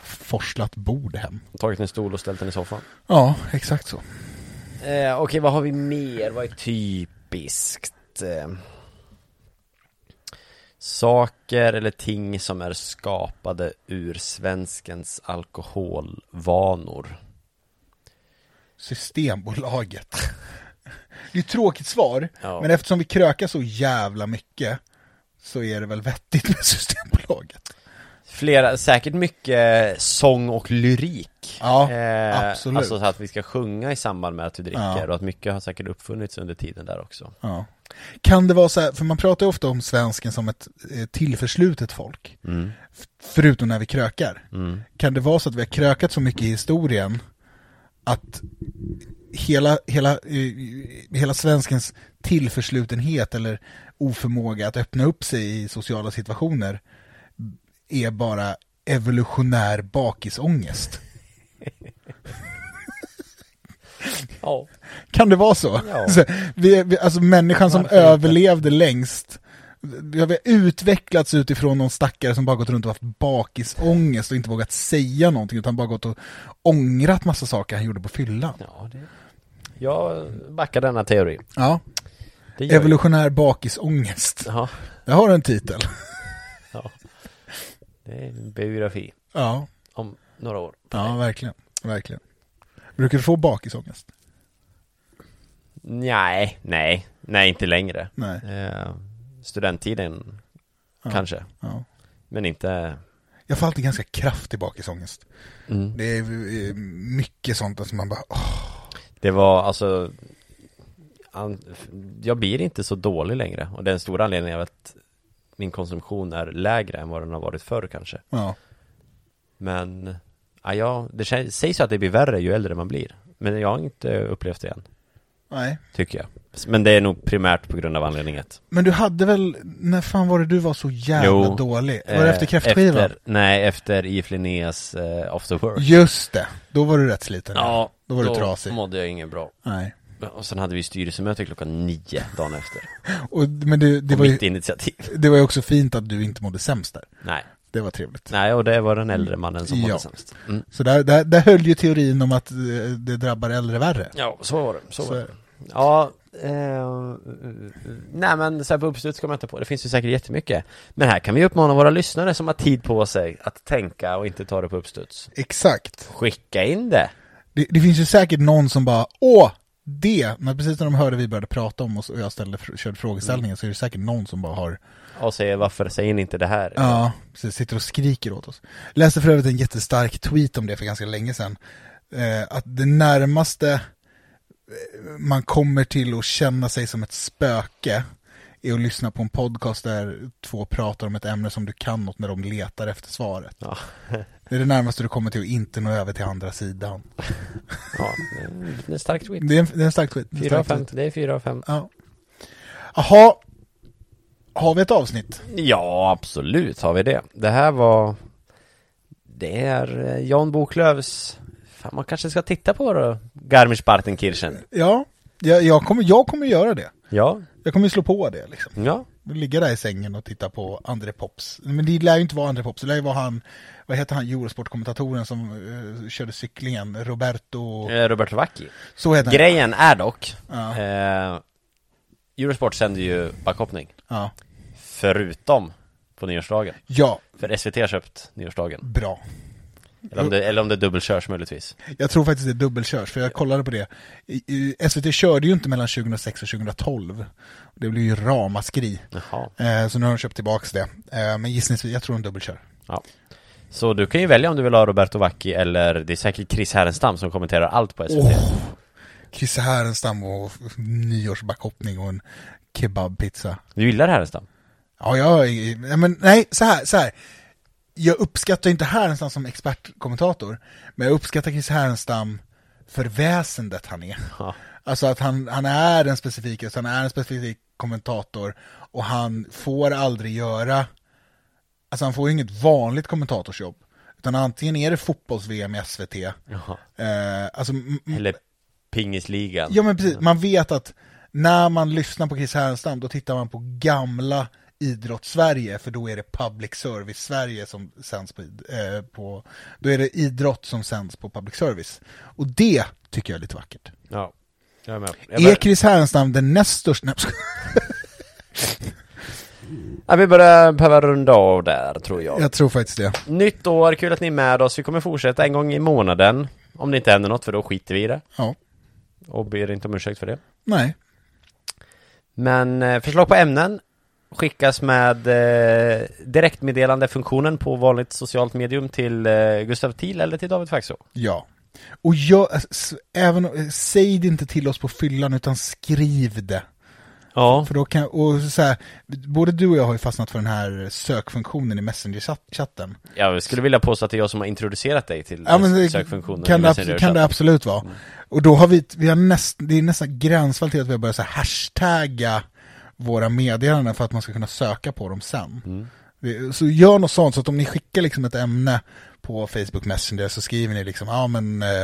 S3: forslat bord hem.
S5: tagit en stol och ställt den i soffan.
S3: Ja, exakt så.
S5: Eh, Okej, vad har vi mer? Vad är typiskt? Eh, saker eller ting som är skapade ur svenskens alkoholvanor.
S3: Systembolaget. Det är ett tråkigt svar,
S5: Ja.
S3: men eftersom vi krökar så jävla mycket så är det väl vettigt med Systembolaget.
S5: Flera, säkert mycket sång och lyrik.
S3: Ja, absolut.
S5: Alltså så att vi ska sjunga i samband med att du dricker
S3: Ja.
S5: och att mycket har säkert uppfunnits under tiden där också.
S3: Ja. Kan det vara så här, för man pratar ju ofta om svensken som ett eh, tillförslutet folk, F- förutom när vi krökar. Kan det vara så att vi har krökat så mycket i historien att hela, hela, eh, hela svenskens tillförslutenhet eller oförmåga att öppna upp sig i sociala situationer är bara evolutionär bakisångest?
S5: Ja.
S3: Kan det vara så?
S5: Ja.
S3: så vi, vi, alltså människan som
S5: Varför inte?
S3: överlevde längst, vi har vi har utvecklats utifrån någon stackare som bara gått runt och haft bakisångest och inte vågat säga någonting utan bara gått och ångrat massa saker han gjorde på fyllan.
S5: Ja, det... Jag backar denna teori.
S3: Ja,
S5: Det gör
S3: evolutionär bakisångest.
S5: jag. Ja,
S3: Det har en titel.
S5: ja. Det är en biografi
S3: Ja,
S5: om några år.
S3: ja verkligen. verkligen. Brukar du få bakisångest?
S5: Nej, nej, nej inte längre.
S3: Nej.
S5: Eh, studenttiden kanske,
S3: Ja.
S5: men inte...
S3: Jag får alltid ganska kraftig bakisångest.
S5: Mm.
S3: Det är eh, mycket sånt som man bara, åh,
S5: Det var alltså an, f- Jag blir inte så dålig längre Och det är en stor anledning av att Min konsumtion är lägre än vad den har varit förr kanske
S3: ja.
S5: Men ja, jag, Det kä- sägs ju att det blir värre ju äldre man blir Men jag har inte upplevt det än
S3: Nej,
S5: Tycker jag Men det är nog primärt på grund av anledningen att-
S3: Men du hade väl, när fan var det du var så jävla
S5: Jo,
S3: dålig? Var det efter
S5: eh,
S3: kräftskivan?
S5: efter- Nej, efter IF Linnés eh, After Work
S3: Just det, då var du rätt sliten.
S5: Ja,
S3: då var du trasig.
S5: mådde jag inget bra
S3: Nej.
S5: Och sen hade vi styrelsemöte klockan nio dagen efter
S3: Och, men det, det,
S5: På
S3: var ju,
S5: mitt initiativ
S3: det var ju också fint att du inte mådde sämst där.
S5: Nej
S3: Det var trevligt.
S5: Nej, och det var den äldre mannen som
S3: Ja.
S5: mådde sämst. Mm.
S3: Så där, där, där höll ju teorin om att eh, det drabbar äldre värre.
S5: Ja, så var det. Så,
S3: Så
S5: var
S3: är
S5: det.
S3: det.
S5: Ja, eh, nej men så här på uppstuds kommer jag inte på. Det finns ju säkert jättemycket. Men här kan vi uppmana våra lyssnare som har tid på sig att tänka och inte ta det på uppstuds.
S3: Exakt.
S5: Skicka in det.
S3: Det, det finns ju säkert någon som bara, åh, det, när precis när de hörde vi började prata om oss och jag ställde, fr- körde frågeställningen
S5: Mm.
S3: så är det säkert någon som bara har
S5: Och säg varför säger ni inte det här?
S3: Ja, precis, sitter och skriker åt oss. Läste för övrigt en jättestark tweet om det för ganska länge sedan. Eh, att det närmaste eh, man kommer till att känna sig som ett spöke är att lyssna på en podcast där två pratar om ett ämne som du kan något när de letar efter svaret.
S5: Ja.
S3: Det är det närmaste du kommer till att inte nå över till andra sidan.
S5: ja det är en- det är en stark tweet.
S3: Det är en, det är en stark tweet. En
S5: Fyra av
S3: stark
S5: fem.
S3: tweet.
S5: Det är fyra av fem.
S3: Ja. Jaha, har vi ett avsnitt?
S5: Ja, absolut har vi det. Det här var... Det är eh, Jan Boklövs... Fan, man kanske ska titta på då. Garmisch-Partenkirchen.
S3: Ja, jag, jag, kommer, jag kommer göra det.
S5: Ja,
S3: Jag kommer slå på det liksom.
S5: ja.
S3: Ligga där i sängen och titta på André Pops. Men det lär ju inte vara André Pops, det lär ju vara han, vad heter han, Eurosport-kommentatorn som eh, körde cyklingen, Roberto,
S5: Eh, Roberto Vacchi.
S3: så heter han.
S5: Grejen är dock,
S3: Ja.
S5: eh, Eurosport sänder ju backhoppning,
S3: Ja.
S5: förutom på nyårsdagen.
S3: ja,
S5: För SVT har köpt nyårsdagen.
S3: bra.
S5: Eller om det, eller om det dubbelkörs möjligtvis.
S3: Jag tror faktiskt det är dubbelkörs, för jag kollade på det. I- i- SVT körde ju inte mellan 2006 och 2012. Det blev ju ramaskri.
S5: Jaha.
S3: Eh, så nu har de köpt tillbaka det. Eh, men gissningsvis, jag tror de dubbelkör.
S5: Ja. Så du kan ju välja om du vill ha Roberto Vacchi eller det är säkert Chris Härenstam som kommenterar allt på SVT.
S3: Christer Härenstam och nyårsbackhoppning och en kebabpizza.
S5: Du gillar Härenstam?
S3: Ja, jag, ja, men nej, så här, så här. Jag uppskattar inte Härenstam som expertkommentator, men jag uppskattar Chris Härenstam för väsendet han är.
S5: Ja.
S3: Alltså att han, han är en specifik, alltså han är en specifik kommentator och han får aldrig göra, alltså han får ju inget vanligt kommentatorsjobb. Utan antingen är det fotbolls-VM i SVT,
S5: Jaha.
S3: eh, alltså m- m-
S5: Eller Pingisligan?
S3: Ja men precis, man vet att när man lyssnar på Chris Härenstam då tittar man på gamla idrottssverige för då är det public service Sverige som sänds på, id- eh, på då är det idrott som sänds på public service. Och det tycker jag är lite vackert.
S5: Ja. Jag är med. Jag
S3: Är
S5: bör...
S3: Chris Härenstam den näst största? Nej, jag skojar.
S5: ja, vi börjar behöva runda av där, tror jag.
S3: Jag tror faktiskt det.
S5: Nytt år, kul att ni är med oss. Vi kommer fortsätta en gång i månaden. Om det inte händer något, för då skiter vi i det.
S3: Ja.
S5: Och ber inte om ursäkt för det.
S3: Nej.
S5: Men eh, förslag på ämnen skickas med eh, direktmeddelandefunktionen på vanligt socialt medium till eh, Gustav Thiel eller till David Faxå.
S3: Ja. Och jag, s- även, säg det inte till oss på fyllan utan skriv det.
S5: Ja.
S3: För då kan, och så här, både du och jag har ju fastnat för den här sökfunktionen i Messenger-chatten.
S5: Jag skulle vilja påstå att det är jag som har introducerat dig till
S3: Ja, men det
S5: sökfunktionen.
S3: kan,
S5: i
S3: det,
S5: Messenger Mm.
S3: abs- kan det absolut vara. Och då har vi, vi har näst, det är nästan gränsfall till att vi har börjat så här hashtagga våra meddelanden för att man ska kunna söka på dem sen.
S5: Mm.
S3: Det- Så gör något sånt, så att om ni skickar liksom ett ämne på Facebook Messenger så skriver ni liksom, ja ah, men eh,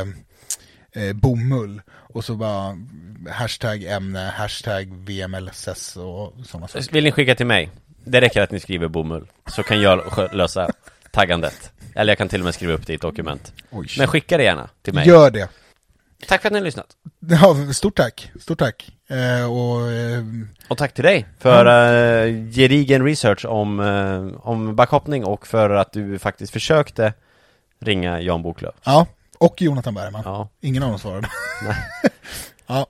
S3: eh, bomull och så bara hashtag ämne, hashtag VMLSS och sådana saker.
S5: Vill ni skicka till mig? Det räcker att ni skriver bomull, så kan jag skö- lösa taggandet. Eller jag kan till och med skriva upp det i ett dokument.
S3: Oj.
S5: Men skicka det gärna till Eh, mig.
S3: Gör det.
S5: Tack för att ni har lyssnat.
S3: Ja, stort tack, stort tack. Eh, och eh,
S5: Och tack till dig för eh, gedigen research om, eh, om backhoppning och för att du faktiskt försökte ringa Jan Boklöv.
S3: Ja, och Jonathan Bergman.
S5: Ja.
S3: Ingen av dem svarade. ja.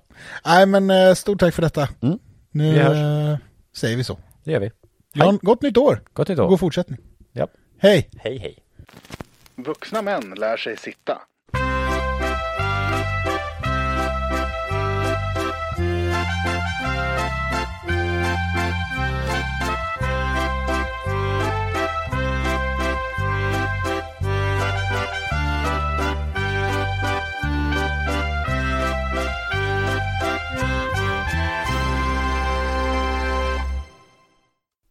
S3: Nej, men eh, stort tack för detta.
S5: Mm.
S3: Nu
S5: Vi hörs.
S3: eh, säger vi så.
S5: Det gör vi.
S3: Ja, gott nytt år!
S5: Gott nytt
S3: God
S5: år.
S3: fortsättning.
S5: Ja.
S3: Hej!
S5: Hej hej.
S2: Vuxna män lär sig sitta.